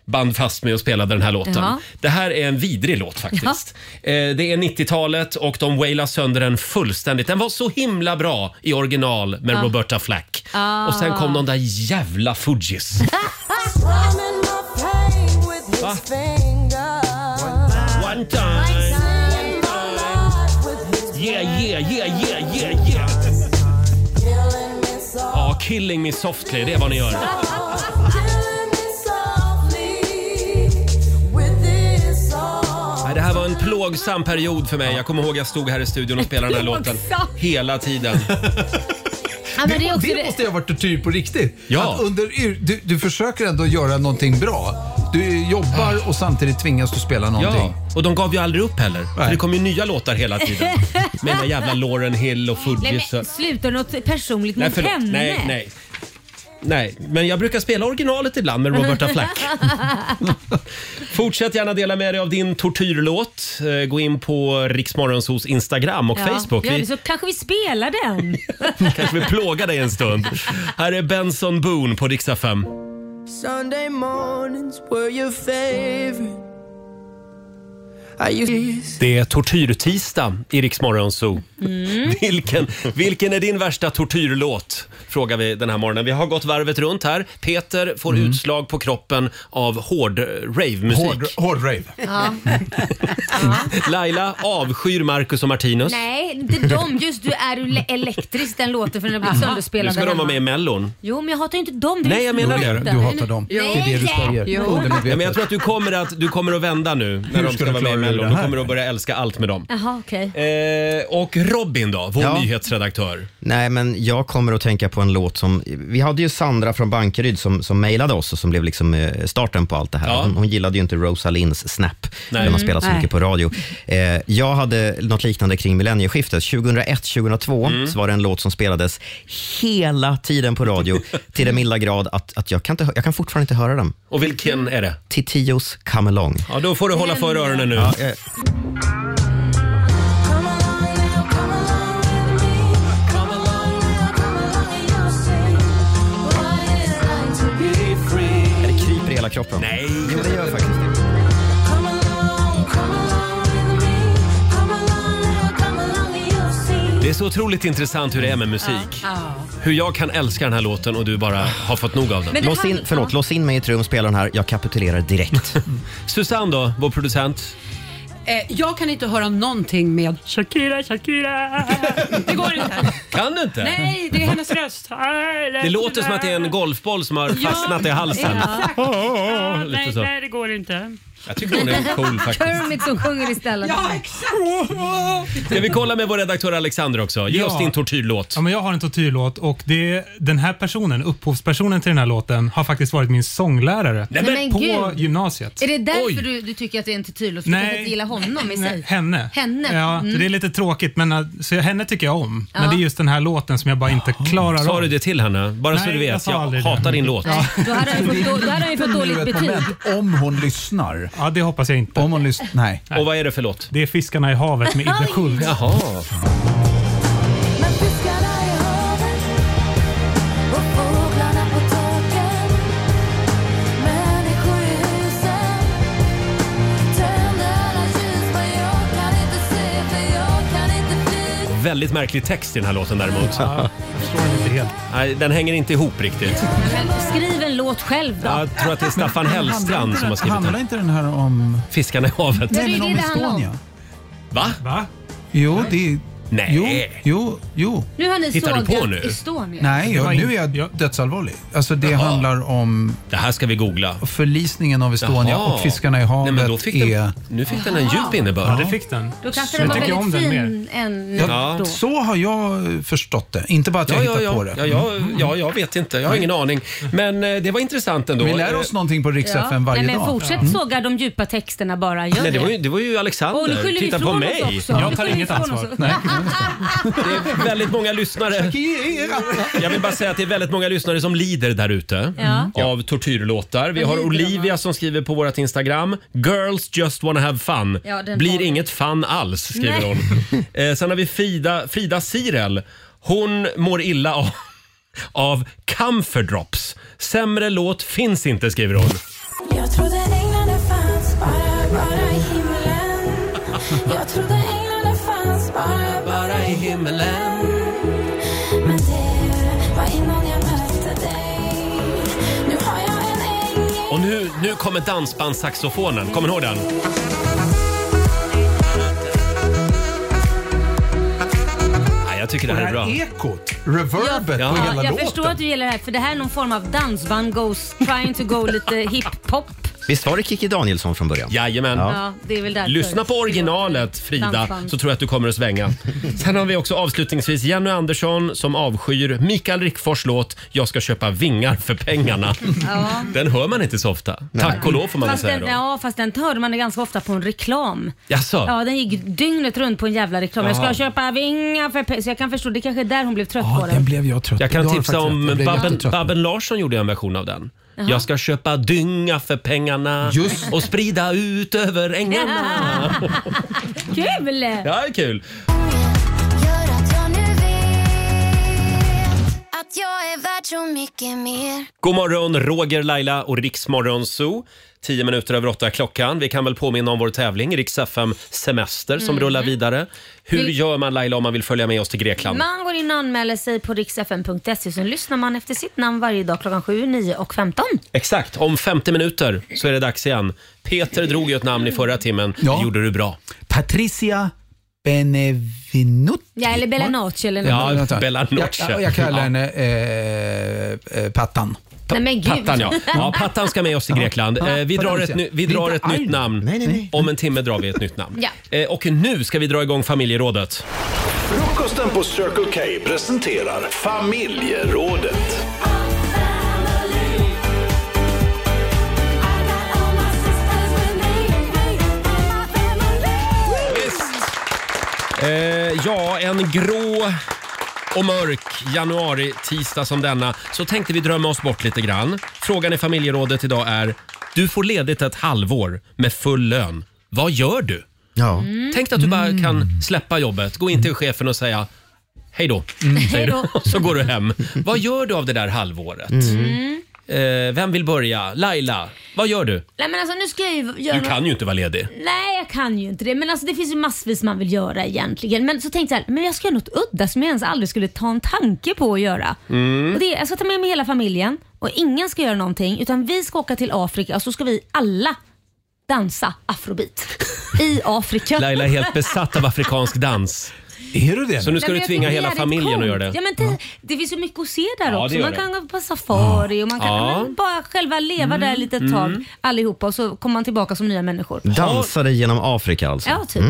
band fast mig och spelade den här låten.
Jaha.
Det här är en vidrig låt faktiskt. Eh, det är 90-talet och de wailade sönder den fullständigt. Den var så himla bra i original med
Ja.
Roberta Flack.
Ah.
Och sen kom de där jävla Fugees.
Va?
One time. Yeah, yeah, yeah, yeah, yeah, yeah. Ja, killing me softly, det är vad ni gör. en plågsam period för mig. Jag kommer ihåg jag stod här i studion och spelade
(laughs)
den här låten
Plågsam.
hela tiden.
Ja, men det är också
Det måste ju ha varit tortyr på riktigt.
Ja.
Att under, yr- du, du försöker ändå göra någonting bra. Du jobbar och samtidigt tvingas du spela någonting.
Ja, och de gav ju aldrig upp heller. För det kom ju nya låtar hela
(laughs)
tiden. Med den där jävla Lauren Hill och
Nej
Fugees.
men
och-
sluta något personligt
Nej,
mot
förlåt.
henne.
Nej, nej. Nej, men jag brukar spela originalet ibland med
(laughs)
Roberta Flack. Fortsätt gärna dela med dig av din tortyrlåt. Eh, Gå in på Riksmorgonsos Instagram och Facebook.
Ja,
Vi
det, så kanske vi spelar (laughs) den.
(laughs) kanske vill plåga dig en stund. Här är Benson Boone på Riksa 5.
Sunday mornings were your favorite. I used
Det är tortyrtisdag i Riksmorgonso. (laughs)
Mm.
Vilken, vilken är din värsta tortyrlåt? Frågar vi den här morgonen. Vi har gått varvet runt här. Peter får utslag på kroppen av hård eh, rave-musik.
Mm. Hård, hård rave.
Ja.
(laughs) Laila avskyr Marcus och Martinus.
Nej, inte de. Just du är du le- elektrisk den låten för den har blivit
Nu
sönderspelad.
ska de
hemma.
vara med i Mellon.
Jo, men jag hatar ju inte dem. Det är
Nej,
ju
jag menar det.
låten.
Du hatar
dem.
Nej.
Det är det du säger.
Jo.
Undermedvetet.
Ja, men jag tror att du kommer att, du kommer att vända nu när de
ska
ska
du
vara med i
klara dig ur
Mellon.
det
Du
här?
kommer att börja älska allt med dem.
Jaha, okej.
Eh, och Robin då, vår
Ja.
nyhetsredaktör.
Nej, men jag kommer att tänka på en låt som... Vi hade ju Sandra från Bankeryd som, som mejlade oss och som blev liksom eh, starten på allt det här. Hon, hon gillade ju inte Rosalinds Snap.
Nej.
Den har
Mm,
spelats så
nej.
mycket på radio. Eh, jag hade något liknande kring millennieskiftet. 2001-2002
Mm.
så var det en låt som spelades hela tiden
(laughs)
på radio till den milda grad att, att jag, kan inte, hö- jag kan fortfarande inte höra den.
Och
Mm.
vilken är det?
Titios Come Along.
Ja, då får du hålla för öronen nu.
Ja, eh, det kryper i hela kroppen.
Nej.
Jo, det gör faktiskt det.
Det är så otroligt intressant hur det är med musik. Hur jag kan älska den här låten och du bara har fått nog av den.
Lås in, förlåt, lås in mig i ett rum, spela den här. Jag kapitulerar direkt.
(laughs) Susanne då, vår producent.
Eh, jag kan inte höra någonting med Shakira, Shakira. Det går inte.
Kan du inte?
Nej, det är hennes röst.
(laughs) Det låter som att det är en golfboll som har fastnat i halsen. (laughs)
Exakt.
Lite så.
det går inte.
Jag tycker hon är cool faktiskt.
Kermit som sjunger istället.
Ja, exakt.
Ska vi kolla med vår redaktör Alexander också? Ge
Ja.
oss din tortyrlåt.
Ja, men jag har en tortyrlåt och det, den här personen, upphovspersonen till den här låten, har faktiskt varit min sånglärare
Nej, men-
på
Men gud.
gymnasiet.
Är det
Oj.
därför du, du tycker att det är inte tydligt? För du
Nej.
kanske inte gillar honom i sig?
Henne.
Henne?
Ja,
Mm.
Det är lite tråkigt, men äh, så jag, henne tycker jag om.
Ja.
Men det är just den här låten som jag bara inte klarar av.
Sa du det till henne? Bara så
Nej,
du
jag
vet,
sa
jag,
aldrig det.
hatar din låt.
Ja.
Då hade han ju fått, då, då hade han ju fått dåligt betyg.
Om hon lyssnar. Ja, det hoppas jag inte. Om hon lyssnar, nej.
Och vad är det för låt?
Det är Fiskarna i havet med Idde Schultz.
Jaha. Väldigt märklig text i den här låten däremot. Nej, den hänger inte ihop riktigt.
Men Skriv en låt själv då.
Jag tror att det är Staffan Hellstrand som har skrivit
Handlar
den.
inte den här om...
Fiskarna i havet.
Nej, men det är det det handlar om.
Va?
Va?
Jo, det...
Nej.
Jo, jo, jo.
Nu har ni
Hittar du på
sågat
nu?
Estonia.
Nej,
Det var
jag,
in-
nu är jag dödsallvarlig. Alltså det handlar om
Det här ska vi googla.
förlisningen av Estonia
Jaha.
och fiskarna i havet.
Nej, men då fick den-
är...
nu fick den en djup innebörd.
Ja, det fick den.
Då kanske den var väldigt fin än
Ja,
då.
Så har jag förstått det. Inte bara att jag
Ja, ja,
hittat på
ja.
det. Mm.
Ja, ja, ja, jag vet inte. Jag har ingen aning. Men eh, det var intressant ändå. Eh,
Vi lär oss någonting på Rix
Ja.
FM varje
Nej, men
dag. Mm.
Fortsätt såga de djupa texterna bara. Gör
Nej, det, var ju,
det.
det var ju Alexander.
Åh, nu skyller vi
Titta på
ifrån oss
mig.
också. Jag Nu tar skyller inget vi ifrån ansvar. oss. (laughs) Nej.
(laughs) väldigt många lyssnare. Jag vill bara säga att det är väldigt många lyssnare som lider där ute
Ja.
av tortyrlåtar. Vi
Men
har
lider de
Olivia som skriver på vårt Instagram. Girls just wanna have fun.
Ja, den
Blir
tar vi.
inget fun alls, skriver
Nej. (laughs)
hon. Eh, sen har vi Frida, Frida Sirel. Hon mår illa av, av Comfort Drops. Sämre låt finns inte, skriver hon.
Jag trodde änglarna fanns bara, bara i himlen Jag trodde änglarna fanns bara, bara i himlen Men det var innan jag mötte dig Nu har jag en äng
Och nu, nu kommer dansbandssaxofonen. Kommer ni ihåg den? Nej, jag tycker det här är bra.
Och det här ekot, reverbet
Ja.
på
Ja,
hela
jag
Jag
låten.
(laughs)
förstår att du gillar det här för det här är någon form av dansband goes trying to go lite hiphop.
Visst var det Kikki Danielsson från början?
Jajamän.
Ja. det är väl därför.
Lyssna på originalet Frida
Dansband.
så tror jag att du kommer att svänga. Sen har vi också avslutningsvis Jenny Andersson som avskyr Mikael Rickfors låt Jag ska köpa vingar för pengarna.
Ja.
Den hör man inte så ofta. Tack och lov får man väl
fast
säga
den,
då.
ja, fast den hörde man ganska ofta på en reklam.
Jaså?
Ja, den gick dygnet runt på en jävla reklam. Jag
Jaha.
ska köpa vingar för pe- Så jag kan förstå, det kanske är där hon blev trött på den.
blev jag trött
Jag kan
Du har
tipsa
faktiskt rätt. Jag
om
blev
Babben,
jättetrött.
Babben Larsson gjorde en version av den.
Jaha.
Jag ska köpa dynga för pengarna
Just.
och sprida ut över ängarna.
(laughs) Kul!
Det här är kul.
Gör att jag nu vet att jag är värd så mycket mer.
God morgon, Roger, Laila och Riksmorgon Zoo. 10 minuter över åtta klockan. Vi kan väl påminna om vår tävling, Rix FM Semester, som
Mm.
rullar vidare. Hur
Vi-
gör man Laila om man vill följa med oss till Grekland?
Man går in och anmäler sig på riksfn.se så lyssnar man efter sitt namn varje dag klockan 7, 9 och 15.
Exakt, om 50 minuter så är det dags igen. Peter drog ju ett namn i förra timmen. Det gjorde du bra.
Patricia Benevinut.
Ja, eller Bellanoche eller något.
Ja, Bellanoche.
Jag, jag kallar
Ja.
henne eh, eh, Pattan.
Nej men gud.
Pattan ja. ja. Pattan ska med oss till Grekland.
Ja.
Eh, vi
På
drar
den
ett,
sidan.
ny, vi
Det är
drar
inte
ett nytt
arg.
namn.
Nej, nej, nej.
Om en timme drar vi ett nytt namn.
Ja.
Eh, och nu ska vi dra igång familjerådet.
Frukosten på Circle K presenterar familjerådet.
Eh, ja, en grå och mörk januari tisdag som denna så tänkte vi drömma oss bort lite grann. Frågan i familjerådet idag är du får ledigt ett halvår med full lön. Vad gör du? Mm.
Ja.
Tänk dig att du bara kan släppa jobbet, gå in till chefen och säga Mm. hej då. (laughs) Säger
Hej
du. Så går du hem. Vad gör du av det där halvåret?
Mm.
Eh, vem vill börja? Laila, vad gör du?
Nej men alltså nu ska jag ju göra
Du kan ju inte vara ledig.
Nej, jag kan ju inte det. Men alltså, det finns ju massvis man vill göra egentligen. Men så tänkte jag så här, men jag ska göra något udda som jag ens aldrig skulle ta en tanke på att göra.
Mm.
Och det är, jag ska ta med mig hela familjen och ingen ska göra någonting utan vi ska åka till Afrika och så ska vi alla dansa afrobeat
(laughs)
i Afrika.
Laila är helt besatt av afrikansk dans.
Är du det?
Så nu ska
Nej, men
du
jag
tvinga
tycker
hela
det är
familjen att
coolt.
göra det. Mm.
Ja, men det, det finns ju mycket att se där
Ja, det
också.
gör
Man
det.
kan gå på safari och man kan
Ja. Mm.
men bara själva leva där lite ett tag allihopa och så kommer man tillbaka som nya människor.
Dansade genom Afrika alltså?
Ja, typ.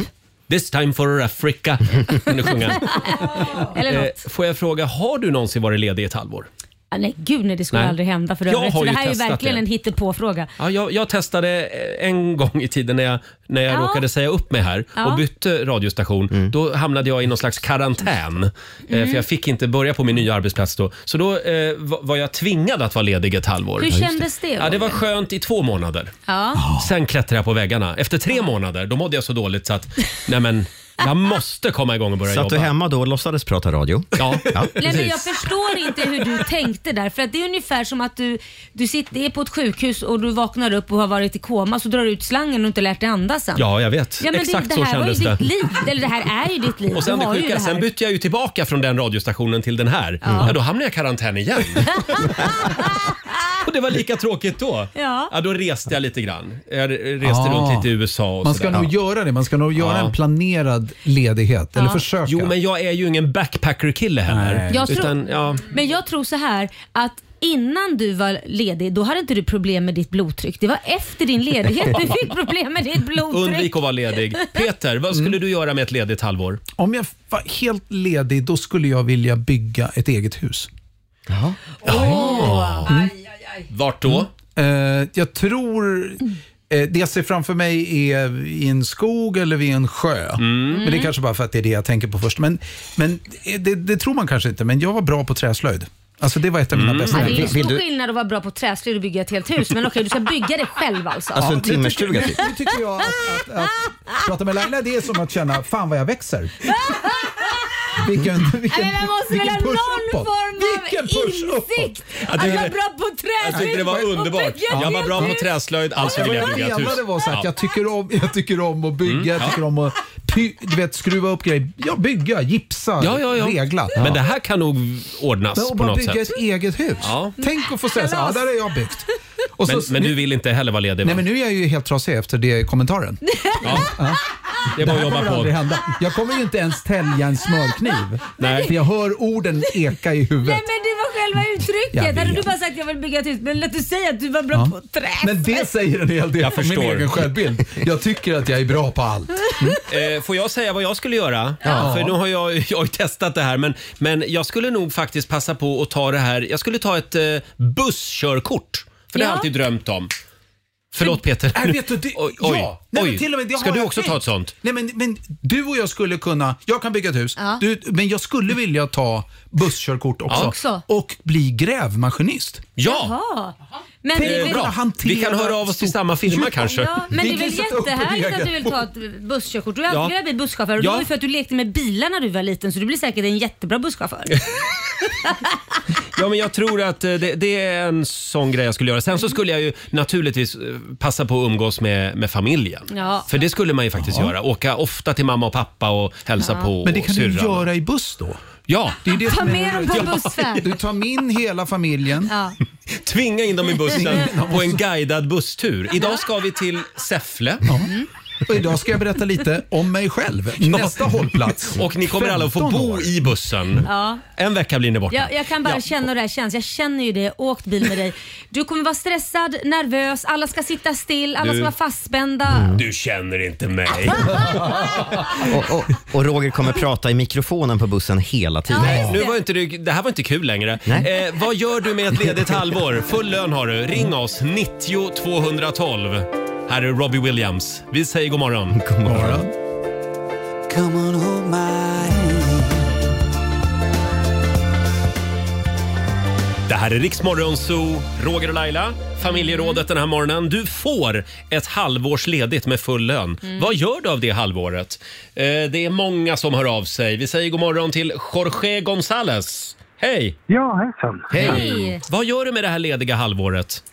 This time for Africa. Kan du sjunga.
(laughs) Eller något.
Eh, får jag fråga, har du någonsin varit ledig i ett halvår?
Ja, Ah, nej gud nej, det skulle
Nej.
aldrig hända för
Jag
övrigt.
har
Så det
ju
här är ju
testat
verkligen
det.
en hittepåfråga.
Ja, jag, jag testade eh, en gång i tiden när jag, när jag
Ja.
råkade säga upp mig här
Ja.
och bytte radiostation.
Mm.
Då hamnade jag i någon slags karantän. Eh,
Mm.
för jag fick inte börja på min nya arbetsplats då. Så då eh, var- var jag tvingad att vara ledig ett halvår.
Hur Ja, just det. kändes det,
Ja, det var
Roger?
skönt i två månader.
Ja.
Sen klättrade jag på väggarna. Efter tre månader då mådde jag så dåligt så att nej men, jag måste komma igång och börja
Satt
jobba.
du hemma då och låtsades prata radio?
Ja,
Nej, men jag förstår inte hur
(laughs)
du tänkte där. För att det är ungefär som att du, du sitter är på ett sjukhus och du vaknar upp och har varit i koma så drar du ut slangen och inte lärt dig andas än.
Ja, jag vet.
men
Exakt
det,
så
det här var ju
kändes det.
ditt liv. Eller det här är ju ditt
(laughs)
liv.
Och sen
du
det
har ju
sjuka,
det
sen
här.
bytte jag ju tillbaka från den radiostationen till den här. Ja,
Ja.
då hamnade jag i karantän
(laughs)
igen. och det var lika tråkigt då.
Ja.
då reste jag lite grann. Jag reste
Ah.
runt lite i USA och
Man ska
sådär.
nog göra det. Man ska nog göra
Ja.
en planerad ledighet. Eller försöka.
Jo, men jag är ju ingen backpacker-kille heller.
Nej.
Jag tror-
Utan, ja.
Men jag tror så här att Innan du var ledig, då hade inte du problem med ditt blodtryck. Det var efter din ledighet
(laughs)
du fick problem med ditt blodtryck.
Undvik att vara ledig. Peter, vad skulle du göra med ett ledigt halvår?
Om jag var helt ledig, då skulle jag vilja bygga ett eget hus.
Åh.
Mm. Vart då?
Mm. Eh, jag tror... eh, Det jag ser framför mig är i en skog eller vid en sjö.
Mm.
Men det är kanske bara för att det är det jag tänker på först. Men, men eh, det, det tror man kanske inte, men jag var bra på träslöjd. Alltså det var ett av
Mm.
mina bästa
Ja, det är ju
ämnen.
stor skillnad att vara bra på träslöjd och bygga ett helt hus. Men okej, du ska bygga det själv alltså.
Ja, nu tycker- Nu nu tycker jag att, att, att, prata med Laila, det är som att känna, fan vad jag växer. Vilken, vilken,
Nej, men man måste väl
vilken
ha
push
någon
uppåt.
form av
Vilken push
insikt
Jag
att
tycker
vara
det-
bra på träslöjd.
Jag tyckte det var
och
underbart.
bygga
Jag
ett
var bra på
hus.
träslöjd, alltså
Vad
vill jag
jag
bygga ett hus.
menade var så här,
Ja. Mm.
att jag, tycker om, jag tycker om att bygga, jag tycker om att py, du vet, skruva upp grejer. Ja, bygga, gipsa,
Ja, ja, ja.
regla.
Men det här kan nog ordnas
Men och
på
bara
något
bygga
sätt.
ett eget hus.
Ja.
Tänk att få säga så här, ja, där har jag byggt. Och
men,
så,
men du vill inte heller vara ledig? Va?
Nej men nu är jag ju helt trasig efter det kommentaren.
Ja. Det är bara
här
att jobba
kommer
på.
aldrig hända. Jag kommer ju inte ens tälja en smörkniv.
Nej.
För jag hör orden eka i huvudet.
Nej men det var själva
Jag vet.
uttrycket. Hade du bara sagt jag vill bygga ett hus, men lät du säga att du var bra
Ja.
på trä.
Men det säger en hel del
Jag
om min
förstår.
egen självbild. Jag tycker att jag är bra på allt.
Eh, får jag säga vad jag skulle göra?
Ja.
För nu har jag, jag har ju testat det här men, men jag skulle nog faktiskt passa på att ta det här. Jag skulle ta ett eh, busskörkort. För det har jag
Ja.
alltid drömt om. Förlåt Peter.
Nej, äh, vet du, det,
oj, oj,
ja. Nej, men
oj.
till och med, det
Ska
har
du
jag
också
tänkt.
ta ett sånt?
Nej, men, men du och jag skulle kunna, jag kan bygga ett hus,
Ja.
du, men jag skulle vilja ta busskörkort också.
Ja.
Också.
Och bli grävmaskinist.
Jaha. Men
Tänk
det är väl-
bra.
Vi kan höra av oss till samma firma
Ja.
kanske.
Ja, men det är väl
kan sätta upp
jättehärligt
en
att du
egen.
vill ta ett busskörkort. Du har
Ja.
alltid velat bli busschaufför och det
Ja.
var ju för att du lekte med bilar när du var liten så du blir säkert en jättebra busschaufför.
Ja, men jag tror att eh, det, det är en sån grej jag skulle göra. Sen så skulle jag ju naturligtvis eh, passa på att umgås med, med familjen.
Ja.
För det skulle man ju faktiskt
Ja.
göra. Åka ofta till mamma och pappa och hälsa
Ja.
på
Men det kan
och
du
syrran.
göra i buss då.
Ja.
Det är det
Ta
som är-
med dem på bussen.
Du tar med in hela familjen.
Ja.
(laughs) Tvinga in dem i bussen
Tvinga in dem.
på en guidad busstur. Idag ska vi till Säffle.
Och idag ska jag berätta lite om mig själv. Nästa
(laughs)
hållplats.
Och ni kommer alla att få
15
bo
år.
i bussen.
Ja.
En vecka blir ni borta.
Jag, jag kan bara
Ja.
känna hur det här känns. Jag känner ju det. Jag har åkt bil med dig. Du kommer vara stressad, nervös, alla ska sitta still, alla
Du-
ska vara fastspända.
Mm.
Du känner inte
(laughs)
mig.
Och, och, och Roger kommer prata i mikrofonen på bussen hela tiden.
Nej, nu var inte du, det här var inte kul längre. Eh, vad gör du med ett ledigt halvår? Full lön har du. Ring oss, 90 212. Här är Robbie Williams. Vi säger god morgon.
God morgon.
Come on, hold my
Det här är Riksmorgon Zoo, Roger och Laila. Familjerådet den här morgonen. Du får ett halvårs ledigt med full lön.
Mm.
Vad gör du av det halvåret? Eh, det är många som hör av sig. Vi säger god morgon till Jorge González. Hej!
Ja, hejsan.
Hej.
Hej.
Vad gör du med det här lediga halvåret?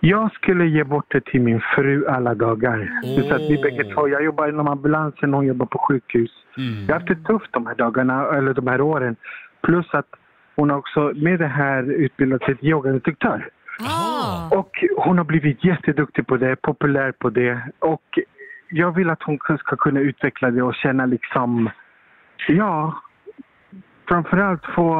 Jag skulle ge bort det till min fru alla dagar. Så att vi bägge två, jag jobbar inom ambulansen och hon jobbar på sjukhus. Jag har haft det tufft de här dagarna, eller de här åren. Plus att hon har också med det här utbildat sig till yogainstruktör.
Ah.
Och hon har blivit jätteduktig på det, populär på det. Och jag vill att hon ska kunna utveckla det och känna liksom, ja, framförallt få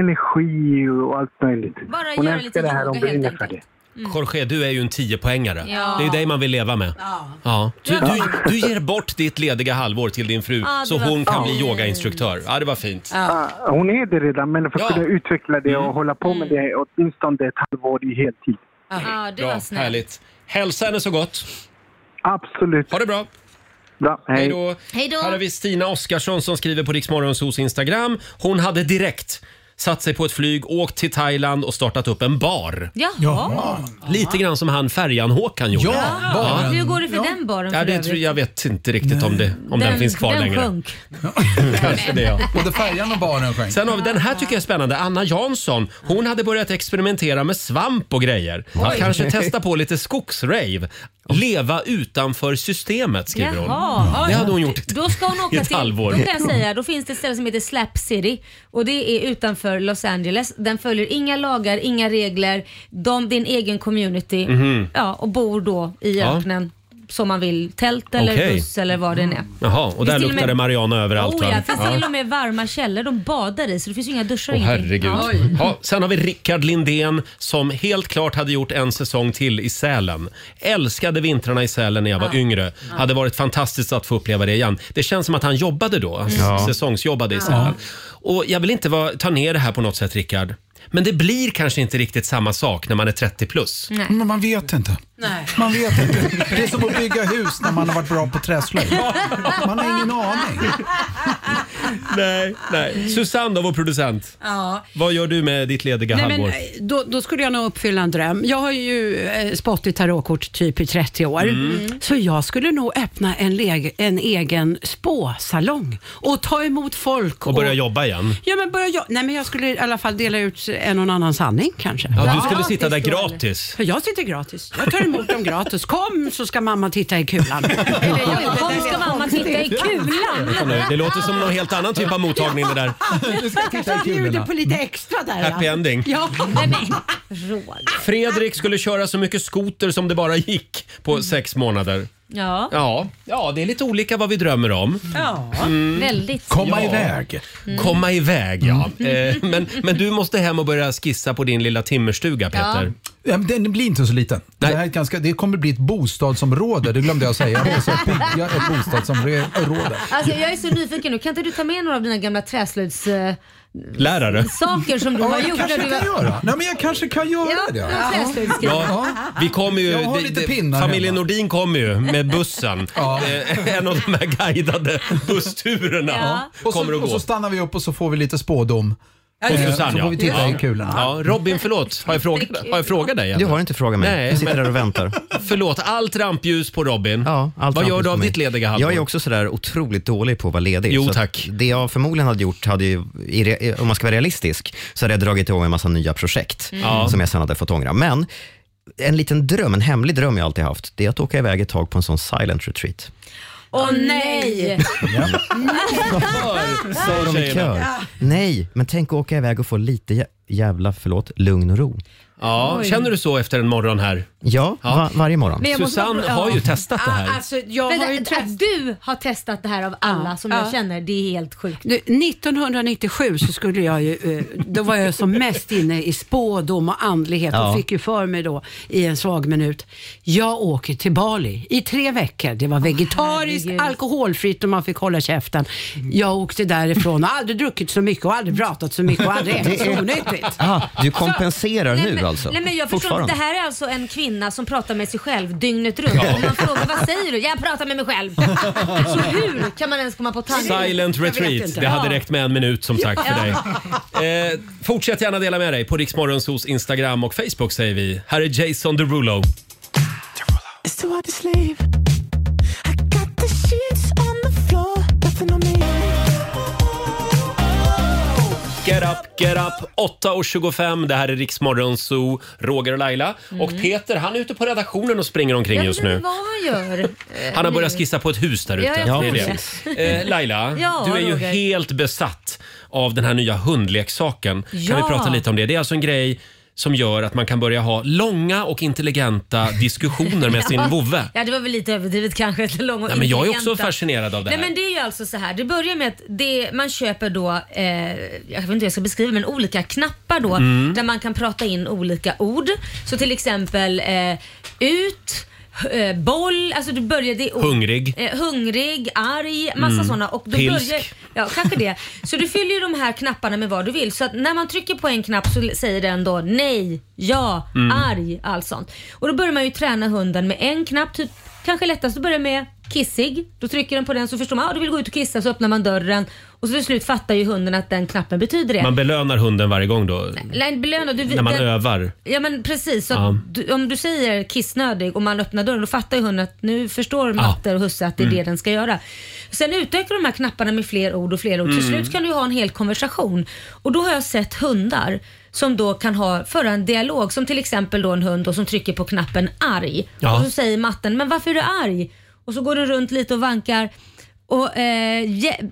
energi och allt möjligt.
Bara
hon
göra
älskar
lite
det här, hon
yoga helt
brinner för det.
Jorge, du är ju en 10-poängare.
Ja.
Det är ju dig man vill leva med. Ja. Du, du, du ger bort ditt lediga halvår till din fru
Ja, det
så
var
hon kan
fint.
bli yogainstruktör. Ja, det var fint.
Ah, Hon är det redan, men för att kunna utveckla det och hålla på
Mm.
med det åtminstone ett halvår i heltid.
Ja, det
Mm. Bra,
var snällt.
härligt. Hälsa henne så gott.
Absolut.
Ha det bra.
Bra, hej.
då.
Hej då.
Här har vi Stina Oskarsson som skriver på Riksmorgonsos Instagram. Hon hade direkt satt sig på ett flyg, åkt till Thailand och startat upp en bar.
Jaha.
Lite grann som han Färjan-Håkan gjorde.
Ja, Hur går det för den baren
Ja,
för
det
övrigt?
tror jag vet inte riktigt om, det, om den, finns kvar
den
längre.
Sjönk.
Kanske det, ja.
Både färjan och barnen sjönk.
Sen har vi, den här tycker jag är spännande. Anna Jansson, hon hade börjat experimentera med svamp och grejer.
Oj.
Kanske testa på lite skogsrave. Leva utanför systemet, skriver
Jaha.
hon. Det hade hon gjort.
Då ska hon
i
åka
ett
till,
halvår.
då kan jag säga, då finns det ett ställe som heter Slap City och det är utanför Los Angeles. Den följer inga lagar, inga regler. De, din egen community
Mhm.
ja, och bor då i
Ja.
öknen som man vill. Tält eller
Okej.
buss eller vad det än är.
Jaha, och
Finns
där
till och
luktar
med-
det marijuana överallt.
Oh, ja,
va?
det finns
Ja.
till och med varma källor de badar i så det finns ju inga duschar och
Åh, herregud.
ingenting.
Ja, sen har vi Rickard Lindén som helt klart hade gjort en säsong till i Sälen. Älskade vintrarna i Sälen när jag var
Ja.
yngre.
Ja.
Hade varit fantastiskt att få uppleva det igen. Det känns som att han jobbade då, alltså
Ja.
säsongsjobbade i
Ja.
Sälen. Och jag vill inte vara, ta ner det här på något sätt, Rickard. Men det blir kanske inte riktigt samma sak när man är 30 plus.
Men man vet inte. Man vet inte. Det är som att bygga hus när man har varit bra på träslöjd. Man har ingen aning.
Nej, nej. Susanne, då, vår producent.
Ja.
Vad gör du med ditt lediga
Nej, men,
halvår?
eh, då, då skulle jag nog uppfylla en dröm. Jag har ju eh, spått i tarotkort typ i 30 år.
Mm.
Så jag skulle nog öppna en, leg- en egen spåsalong och ta emot folk.
Och börja jobba igen?
Ja, men börja jag, nej, men jag skulle i alla fall dela ut en och annan sanning kanske.
Ja, du skulle sitta där gratis.
För jag sitter gratis. Jag tar emot dem gratis. Kom så ska mamma titta i
(laughs)
kulan.
Oj, kom ska mamma titta i
Vänta
kulan.
nu, Det låter som någon helt annan typ av mottagning det där.
Jag kanske bjuder på lite extra där.
Happy
ja.
ending.
Ja. Nej, nej.
Roger.
Fredrik skulle köra så mycket skoter som det bara gick på sex månader.
Ja.
Ja, ja det är lite olika vad vi drömmer om.
Ja,
Mm.
väldigt.
Ja.
Mm.
Komma iväg, ja. Eh, Men, men du måste hem och börja skissa på din lilla timmerstuga, Peter.
Ja, men den blir inte så liten. Det, här är ett ganska, det kommer bli ett bostadsområde, det glömde jag säga. Jag ska bygga ett bostadsområde.
Alltså jag är så nyfiken nu. Kan inte du ta med några av dina gamla träslöjds... eh,
Lärare.
Saker som du
Ja,
har
jag
gjort
kanske
när du
kan
var-
göra. Nej, men jag kanske kan göra
Ja,
det.
jag läste det.
Ja, vi kommer ju,
Jag har
det-
lite
det-
pinnar
familjen
hemma.
Nordin kommer ju med bussen. Eh, En av de här guidade bussturerna
Och,
kommer
så,
att
och
gå.
så stannar vi upp och så får vi lite spådom.
Ja,
Eh,
Susanne,
så
ja.
får vi titta i kulorna.
Ja, Robin, förlåt. Har jag frågat, har jag frågat dig?
Du har inte frågat mig.
Nej,
jag sitter
men-
där och väntar.
(laughs) Förlåt, allt rampljus på Robin. Ja,
Allt
Vad gör
framför
du av
mig.
ditt lediga halvår?
Jag är också sådär otroligt dålig på att vara ledig.
Jo,
så att
tack.
Det jag förmodligen hade gjort, hade ju, i re- om man ska vara realistisk, så hade jag dragit igång en massa nya projekt
Mm. Ja.
som jag sen hade fått ångra. Men en liten dröm, en hemlig dröm jag alltid haft, det är att åka iväg ett tag på en sån silent retreat.
Åh nej!
(laughs)
nej.
Sa de i kör. Nej, men tänk att åka iväg och få lite jä- jävla, förlåt, lugn och ro.
Ja,
Oj.
känner du så efter en morgon här?
Ja, Va- varje morgon.
Men jag måste bara-
Susanne
ja.
har ju testat det
Ah,
här.
Alltså, jag har ju Ah, att du har testat det här av alla som jag
Ja.
känner, det är helt sjukt.
Nu, 1997 så skulle jag ju, eh, då var jag som mest inne i spådom och andlighet
Ja.
och fick ju för mig då i en svag minut. Jag åker till Bali i tre veckor. Det var vegetariskt, alkoholfritt och man fick hålla käften. Jag åkte därifrån och har aldrig druckit så mycket och aldrig pratat så mycket och aldrig ätit
Det är-
så onyttigt.
Ah, du kompenserar
Nej,
nu
men,
alltså?
Nej, men jag förstår inte.
Fortfarande.
Det här är alltså en kvinna som pratar med sig själv dygnet runt.
Ja.
Om man frågar vad säger du? Jag pratar med mig
(laughs)
själv. Så hur kan man ens komma på tanken?
Silent retreat. Det hade räckt med en minut som sagt för dig. Eh, fortsätt gärna dela med dig på Riksmorgonsos Instagram och Facebook säger vi. Här är Jason Derulo.
It's too hard to sleep. I got the sheets on the floor, nothing on me.
Get up, get up. 8.25, det här är Riksmorgonso, Roger och Laila. Och Peter, han är ute på redaktionen och springer omkring
Jag
just
vet inte
nu.
(laughs) vad han gör. eh,
Han har
nu.
börjat skissa på ett hus där ute.
Ja, jag
Det är
tror
det.
det.
Eh, Laila,
(laughs) Ja,
du är ju
Roger.
helt besatt av den här nya hundleksaken.
Ja.
Kan vi prata lite om det? Det är alltså en grej som gör att man kan börja ha långa och
(laughs)
intelligenta diskussioner med sin
Ja.
vovve.
Ja, det var väl lite överdrivet kanske. Till lång och
Nej, men jag är också
intelligenta.
fascinerad av det här.
Nej, men det är ju alltså så här. Det börjar med att det, man köper då, eh, jag vet inte hur jag ska beskriva men olika knappar då
Mm.
där man kan prata in olika ord. Så till exempel eh, ut, h- eh, boll, alltså du börjar det är ord.
Hungrig.
Eh, hungrig, arg, massa
Mm.
sådana. Och då
Pilsk.
börjar, ja, kanske det. Så du fyller ju de här knapparna med vad du vill. Så att när man trycker på en knapp så säger den då nej, ja,
Mm.
arg, allt sånt. Och då börjar man ju träna hunden med en knapp, typ, kanske lättast att börja med kissig. Då trycker den på den så förstår man att ah, du vill gå ut och kissa så öppnar man dörren och så till slut fattar ju hunden att den knappen betyder det.
Man belönar hunden varje gång då,
Nej, belöna, du,
när man
den-
övar.
Ja men precis, så att
Ja.
du, om du säger kissnödig och man öppnar dörren då fattar ju hunden att nu förstår matte och husse att det är det
Mm.
den ska göra. Sen utökar de här knapparna med fler ord och fler ord. Till
Mm.
slut kan du ju ha en hel konversation och då har jag sett hundar som då kan ha, föra en dialog som till exempel då en hund då, som trycker på knappen arg
Ja.
och så säger matten men varför är du arg? Och så går den runt lite och vankar och eh, hjä-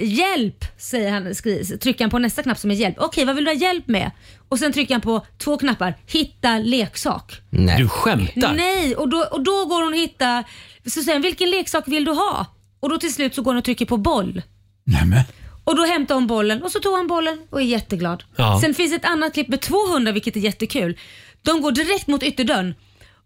hjälp säger han, skri, trycker han på nästa knapp som är hjälp. Okej, vad vill du ha hjälp med? Och sen trycker han på två knappar, hitta leksak.
Nej. Du skämtar?
Nej, och då, och då går hon och hittar, så säger han, vilken leksak vill du ha? Och då till slut så går hon och trycker på boll. Och då hämtar hon bollen och så tog han bollen och är jätteglad.
Ja.
Sen finns ett annat klipp med 200 vilket är jättekul. De går direkt mot ytterdörren.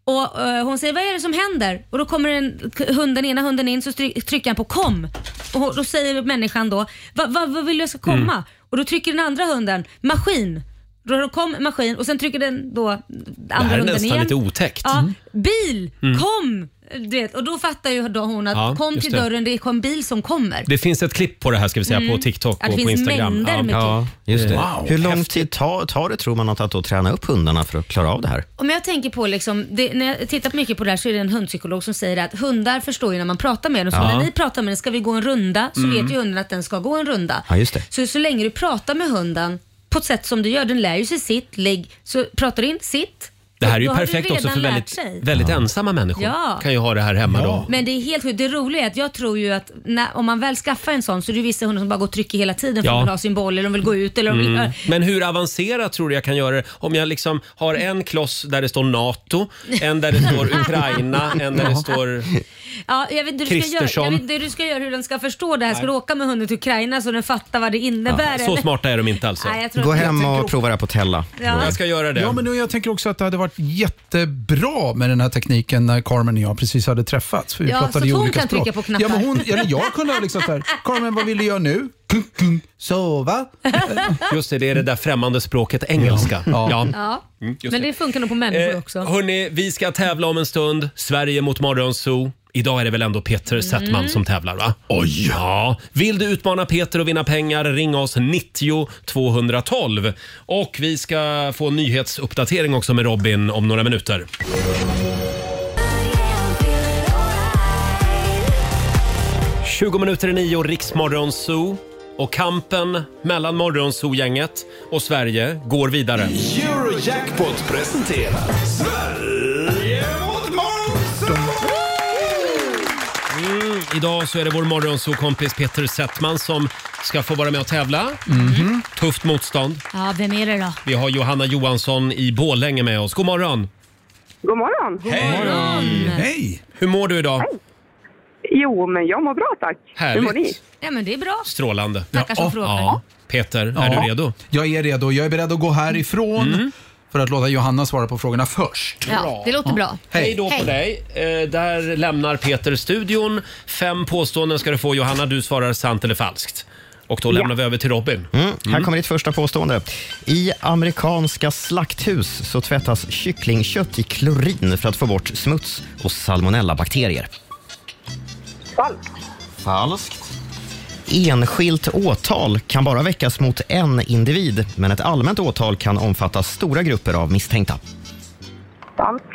Och eh, Hon säger vad är det som händer? Och Då kommer en, k- hunden, ena hunden in så stry- trycker han på kom. Och hon- Då säger människan då vad va, vad vill du jag ska komma?
Mm.
Och Då trycker den andra hunden maskin. Då har de kom maskin och sen trycker den då andra
Det här är
hunden
nästan
igen.
lite otäckt.
Ja, Bil,
Mm.
kom! Du vet, och då fattar ju då hon att
Ja,
kom
just
till
det.
dörren, det kom bil som kommer.
Det finns ett klipp på det här ska vi säga
Mm.
på TikTok
Ja, det
och på
finns
Instagram.
mängder med
Ja, just det.
Wow.
Hur lång tid tar, tar det tror man att, att då träna upp hundarna för att klara av det här?
Om jag tänker på liksom, det, när jag tittar mycket på det här så är det en hundpsykolog som säger att hundar förstår ju när man pratar med dem. Så
Ja.
när ni pratar med den, ska vi gå en runda? Så
Mm.
vet ju hunden att den ska gå en runda.
Ja, just det.
Så så länge du pratar med hunden på ett sätt som du gör, den lär ju sig sitt, lägg, så pratar du in sitt,
Det här är ju
Då har du
perfekt också
redan
för
lärt
väldigt,
sig.
väldigt ensamma människor.
Ja.
Kan ju ha det här hemma då.
Men det är helt sjukt. Det roliga är att jag tror ju att när, om man väl skaffar en sån så är det ju vissa hundar som bara går och trycker hela tiden för
Ja.
att de vill ha sin boll eller de vill gå ut eller de vill...
Mm. Men hur avancerat tror du jag kan göra det? Om jag liksom har en kloss där det står NATO, en där det står Ukraina, en där det står...
Ja, jag vet inte hur du ska göra.
Kristersson.
Jag vet inte hur du ska göra hur den ska förstå det här. Ska
Nej.
du åka med hunden till Ukraina så den fattar vad det innebär?
Ja, så
eller?
smarta är de inte alltså.
Nej, jag tror
Gå
inte-
hem
jag
och
tänker-
prova det här på Tella.
Ja.
Jag ska göra det.
Ja, men nu, jag tänker också att det hade varit jättebra med den här tekniken när Carmen och jag precis hade träffats. För vi
Ja,
pratade
så
ju
att hon
olika
kan
språk.
trycka på knappar.
Ja, men hon, eller jag kunde ha liksom så
(laughs)
här, Carmen vad vill du göra nu? Kung, kung, sova.
Just det, det är det där främmande språket engelska. Ja.
Ja.
Mm, just Eh,
Men det funkar nog på människor också.
Hörni, vi ska tävla om en stund. Sverige mot Morgonzoo. Idag är det väl ändå Peter Settman som tävlar va? Oj! Ja. Vill du utmana Peter och vinna pengar, ring oss 90 212. Och vi ska få en nyhetsuppdatering också med Robin om några minuter. ...20 minuter i nio, Riksmorgon Zoo. Och kampen mellan Morgonzoo-gänget och Sverige går vidare.
Eurojackpot presenterar Sverige mot
Mm, idag så är det vår morgonsokompis Peter Settman som ska få vara med och tävla. Tufft motstånd.
Ja, vem är det då?
Vi har Johanna Johansson i Borlänge med oss. God morgon!
God morgon.
Mm. Hej!
Hej!
Hur mår du idag?
Jo, men jag mår bra tack. Hur mår ni?
Härligt.
Ja, men det är bra.
Strålande.
Tackar som frågar.
Peter, är du redo? Mm.
Jag är redo. Jag är beredd att gå härifrån för att låta Johanna svara på frågorna först.
Ja, det låter bra.
Hej.
Hej då på dig. Eh, där lämnar Peter studion. Fem påståenden ska du få. Johanna, du svarar sant eller falskt. Och då lämnar vi över till Robin.
Mm. Här kommer ditt första påstående. I amerikanska slakthus så tvättas kycklingkött i klorin för att få bort smuts och salmonellabakterier.
Falskt.
Falskt. Enskilt åtal kan bara väckas mot en individ, men ett allmänt åtal kan omfatta stora grupper av misstänkta.
Falskt.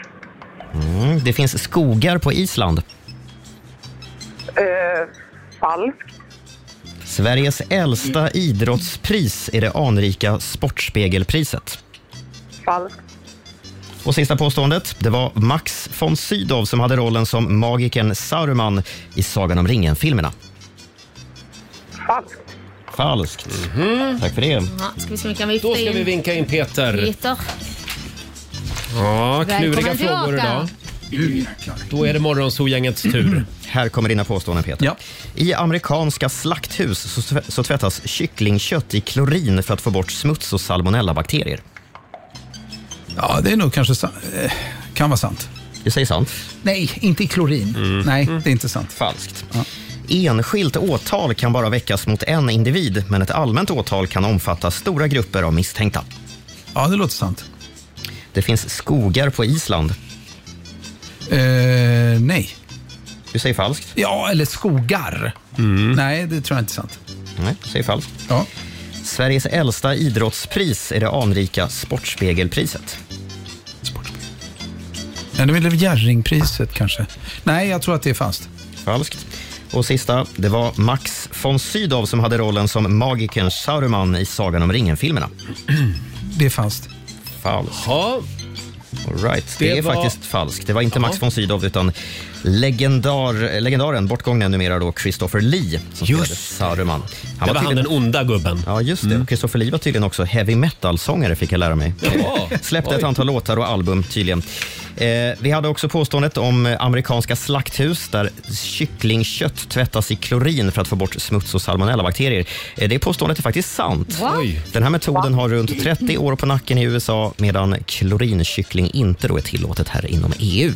Mm. Det finns skogar på Island.
Eh,
(laughs)
falskt.
Sveriges äldsta idrottspris är det anrika Sportspegelpriset.
Falskt.
Och sista påståendet, det var Max von Sydow som hade rollen som magikern Saruman i Sagan om ringen-filmerna.
Falskt.
Falskt.
Mhm.
Tack för det.
Ja, ska vi se om vi kan vifta
Då ska
in
vi vinka in Peter.
Peter.
Ja, kluriga
Välkommen
frågor
tillbaka.
idag. Mm. Då är det Morgonzoo-gängets tur.
Här kommer dina påståenden, Peter. I amerikanska slakthus så, tv- så tvättas kycklingkött i klorin för att få bort smuts och salmonellabakterier.
Ja, det är nog kanske sa- eh, kan vara sant.
Du säger sant.
Nej, inte i klorin. Nej, det är inte sant.
Falskt. Enskilt åtal kan bara väckas mot en individ, men ett allmänt åtal kan omfatta stora grupper av misstänkta.
Ja, det låter sant.
Det finns skogar på Island.
Mm.
Eh, nej.
Du säger falskt.
Ja, eller
Mm.
skogar. Nej, det tror jag inte är sant.
Nej, du säger falskt.
Ja.
Sveriges äldsta idrottspris är det anrika Sportspegelpriset.
Ja, det är väl Jerringpriset kanske. Nej, jag tror att det är
(clears throat)
falskt.
Falskt. Och sista, det var Max von Sydow som hade rollen som magikern Saruman i Sagan om ringen-filmerna.
Det är falskt.
Falskt.
Ja,
All right. Det,
Det
är
var-
faktiskt falskt. Det var inte Max
Jaha.
von Sydow utan legendar, legendaren, bortgångna numera då, Christopher Lee som spelade Saruman.
Det var han,
tydligen-
den onda gubben. Mm.
Ja, just det. Och Christopher Lee var tydligen också heavy metal-sångare, fick jag lära mig.
Jaha.
Släppte
Oj.
ett antal låtar och album tydligen. Eh, vi hade också påståendet om eh, amerikanska slakthus där kycklingkött tvättas i klorin för att få bort smuts och salmonellabakterier. Eh, det påståendet är faktiskt sant.
Va? Oj.
Den här metoden har runt 30 år på nacken i USA medan klorinkyckling inte då är tillåtet här inom E EU.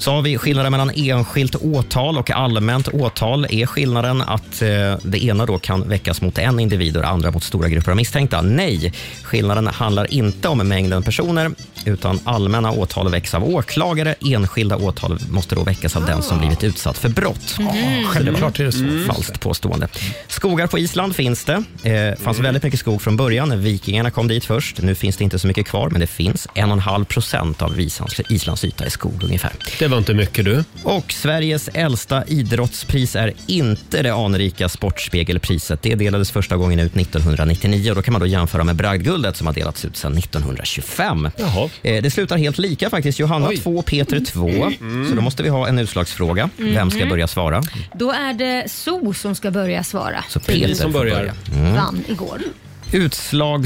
Så har vi skillnaden mellan enskilt åtal och allmänt åtal. Är skillnaden att eh, det ena då kan väckas mot en individ och det andra mot stora grupper av misstänkta? Nej, skillnaden handlar inte om mängden personer utan allmänna åtal väcks av åklagare. Enskilda åtal måste då väckas av den som blivit utsatt för brott.
Ah. Mm-hmm. Självklart är det så.
Falskt påstående. Skogar på Island finns det. Eh, fanns väldigt mycket skog från början. när Vikingarna kom dit först. Nu finns det inte så mycket kvar, men det finns 1,5 procent av Islands, Islands yta i skog ungefär.
Det var inte mycket du.
Och Sveriges äldsta idrottspris är inte det anrika Sportspegelpriset. Det delades första gången ut 1999 och då kan man då jämföra med Bragdguldet som har delats ut sedan 1925.
Jaha.
Eh, Det slutar helt lika faktiskt. Johanna 2, Peter 2.
Mm.
Så då måste vi ha en utslagsfråga.
Mhm.
Vem ska börja svara?
Då är det So som ska börja svara.
Så Peter
som
får börja. Mm.
vann igår.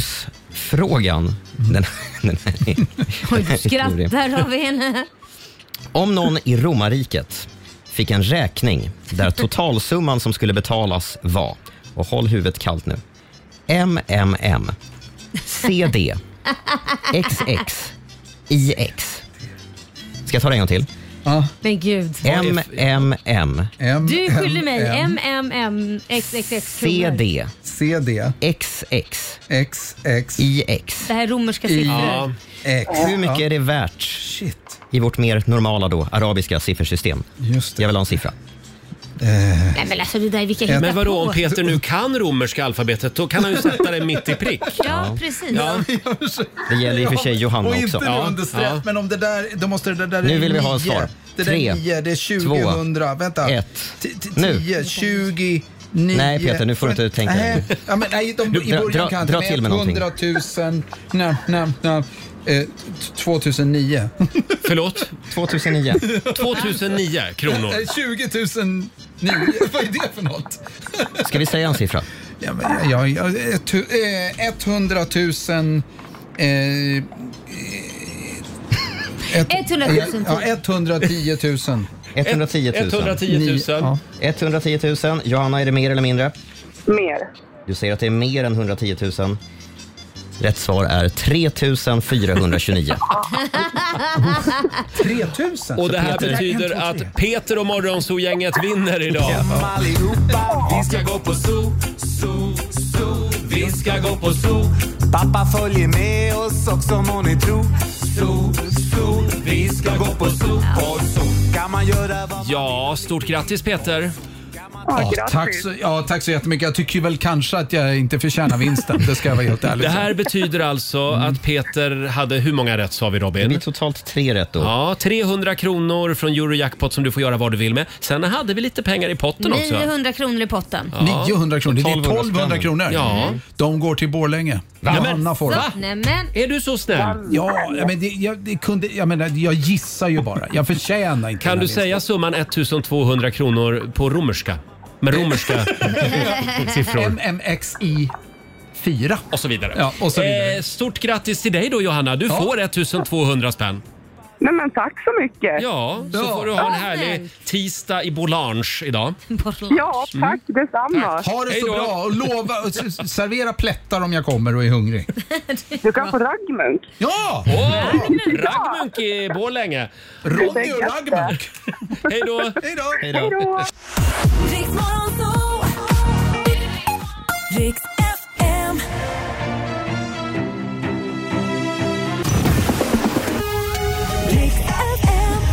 Utslagsfrågan. Den, den här (laughs) är,
Mm. (laughs) Oj,
den
du
här är klurig.
skrattar har vi henne.
Om någon i romarriket fick en räkning
(laughs)
där totalsumman som skulle betalas var, och håll huvudet kallt nu, MMM, CD, XX, IX. Ska jag ta det en gång till?
Men gud.
MMM,
Du skyller mig MMMXXX kronor.
CD,
CD,
XX,
XX,
IX.
Det här är romerska siffror.
Hur mycket är det värt i vårt mer normala då, arabiska siffersystem? Jag vill ha en siffra.
Nej men alltså det där är vilka hittar
Eh, Men vadå,
på.
om Peter nu kan romerska alfabetet då kan han ju
(laughs)
sätta det mitt i prick.
Ja, precis.
Ja.
Det gäller i och för sig Johanna
och
också.
inte nu
Ja,
under stress,
ja.
men om det där, då måste det där
Nu
är
vill vi ha
nio.
svar.
Det där
Tre,
är 9, det är
två,
2000, vänta.
ett.
T- t-
Nu.
10, 20, 9.
Nej, Peter, nu får du inte tänka.
Nej, ja, men, nej de, i
Dra-
början
dra-
kan jag inte,
dra
men
till med någonting.
100 000, nej, nej, nej. Eh, t- 2009. (laughs)
Förlåt? (laughs)
2009.
2009 kronor.
Eh, 20 009, (laughs) vad är det för något?
(laughs) Ska vi säga en siffra?
Ja, men, ja, ja, ett, eh, 100 000... Eh, eh, ett-
100 000 till.
Ja, 110
(laughs)
000.
110 000.
110 000.
Ja.
110 000. Johanna, är det mer eller mindre?
Mer.
Du säger att det är mer än 110 000. Rätt svar är 3 429. (laughs)
3 000?
Och det här
Peter-
betyder att Peter och Morgonzoo-gänget vinner idag.
Allihopa, vi ska gå på zoo, zoo, zoo. Vi ska gå på zoo. Pappa följer med oss också må ni tro. Zoo, zoo. Vi ska gå på zoo. På zoo kan man göra vad
Ja, stort grattis Peter.
Ja, tack, så, ja, tack så jättemycket. Jag tycker väl kanske att jag inte förtjänar vinsten. Det ska jag vara helt ärlig
Det
med.
här betyder alltså att Peter hade, hur många rätt sa vi Robin? Det blir
totalt tre rätt då.
Ja, 300 kronor från Eurojackpot som du får göra vad du vill med. Sen hade vi lite pengar i potten också.
900 kronor i potten.
Ja.
900 kronor. Det är
1200
1200 kronor.
Ja.
De går till Borlänge.
Va?
Johanna får dem.
Så, nämen.
Är du så snäll?
Ja, men det, jag, det kunde, jag, menar, jag gissar ju bara. Jag förtjänar inte
Kan
den
du
här
säga summan 1200 kronor på romerska? Med romerska siffror.
MMXI 4.
Och så vidare.
Ja, och så vidare.
Eh, stort grattis till dig då Johanna. Du
Ja.
får 1200 spänn.
Nej men tack så mycket.
Ja, så får du ha en härlig tisdag i Boulange idag.
Ja, tack detsamma.
Ha det så bra och lova, och s- s- servera plättar om jag kommer och är hungrig.
Du kan få raggmunk.
Ja!
Åh, Raggmunk i Borlänge.
Ronny och Raggmunk.
Hej då!
Hej då.
Riks FM. Riks FM.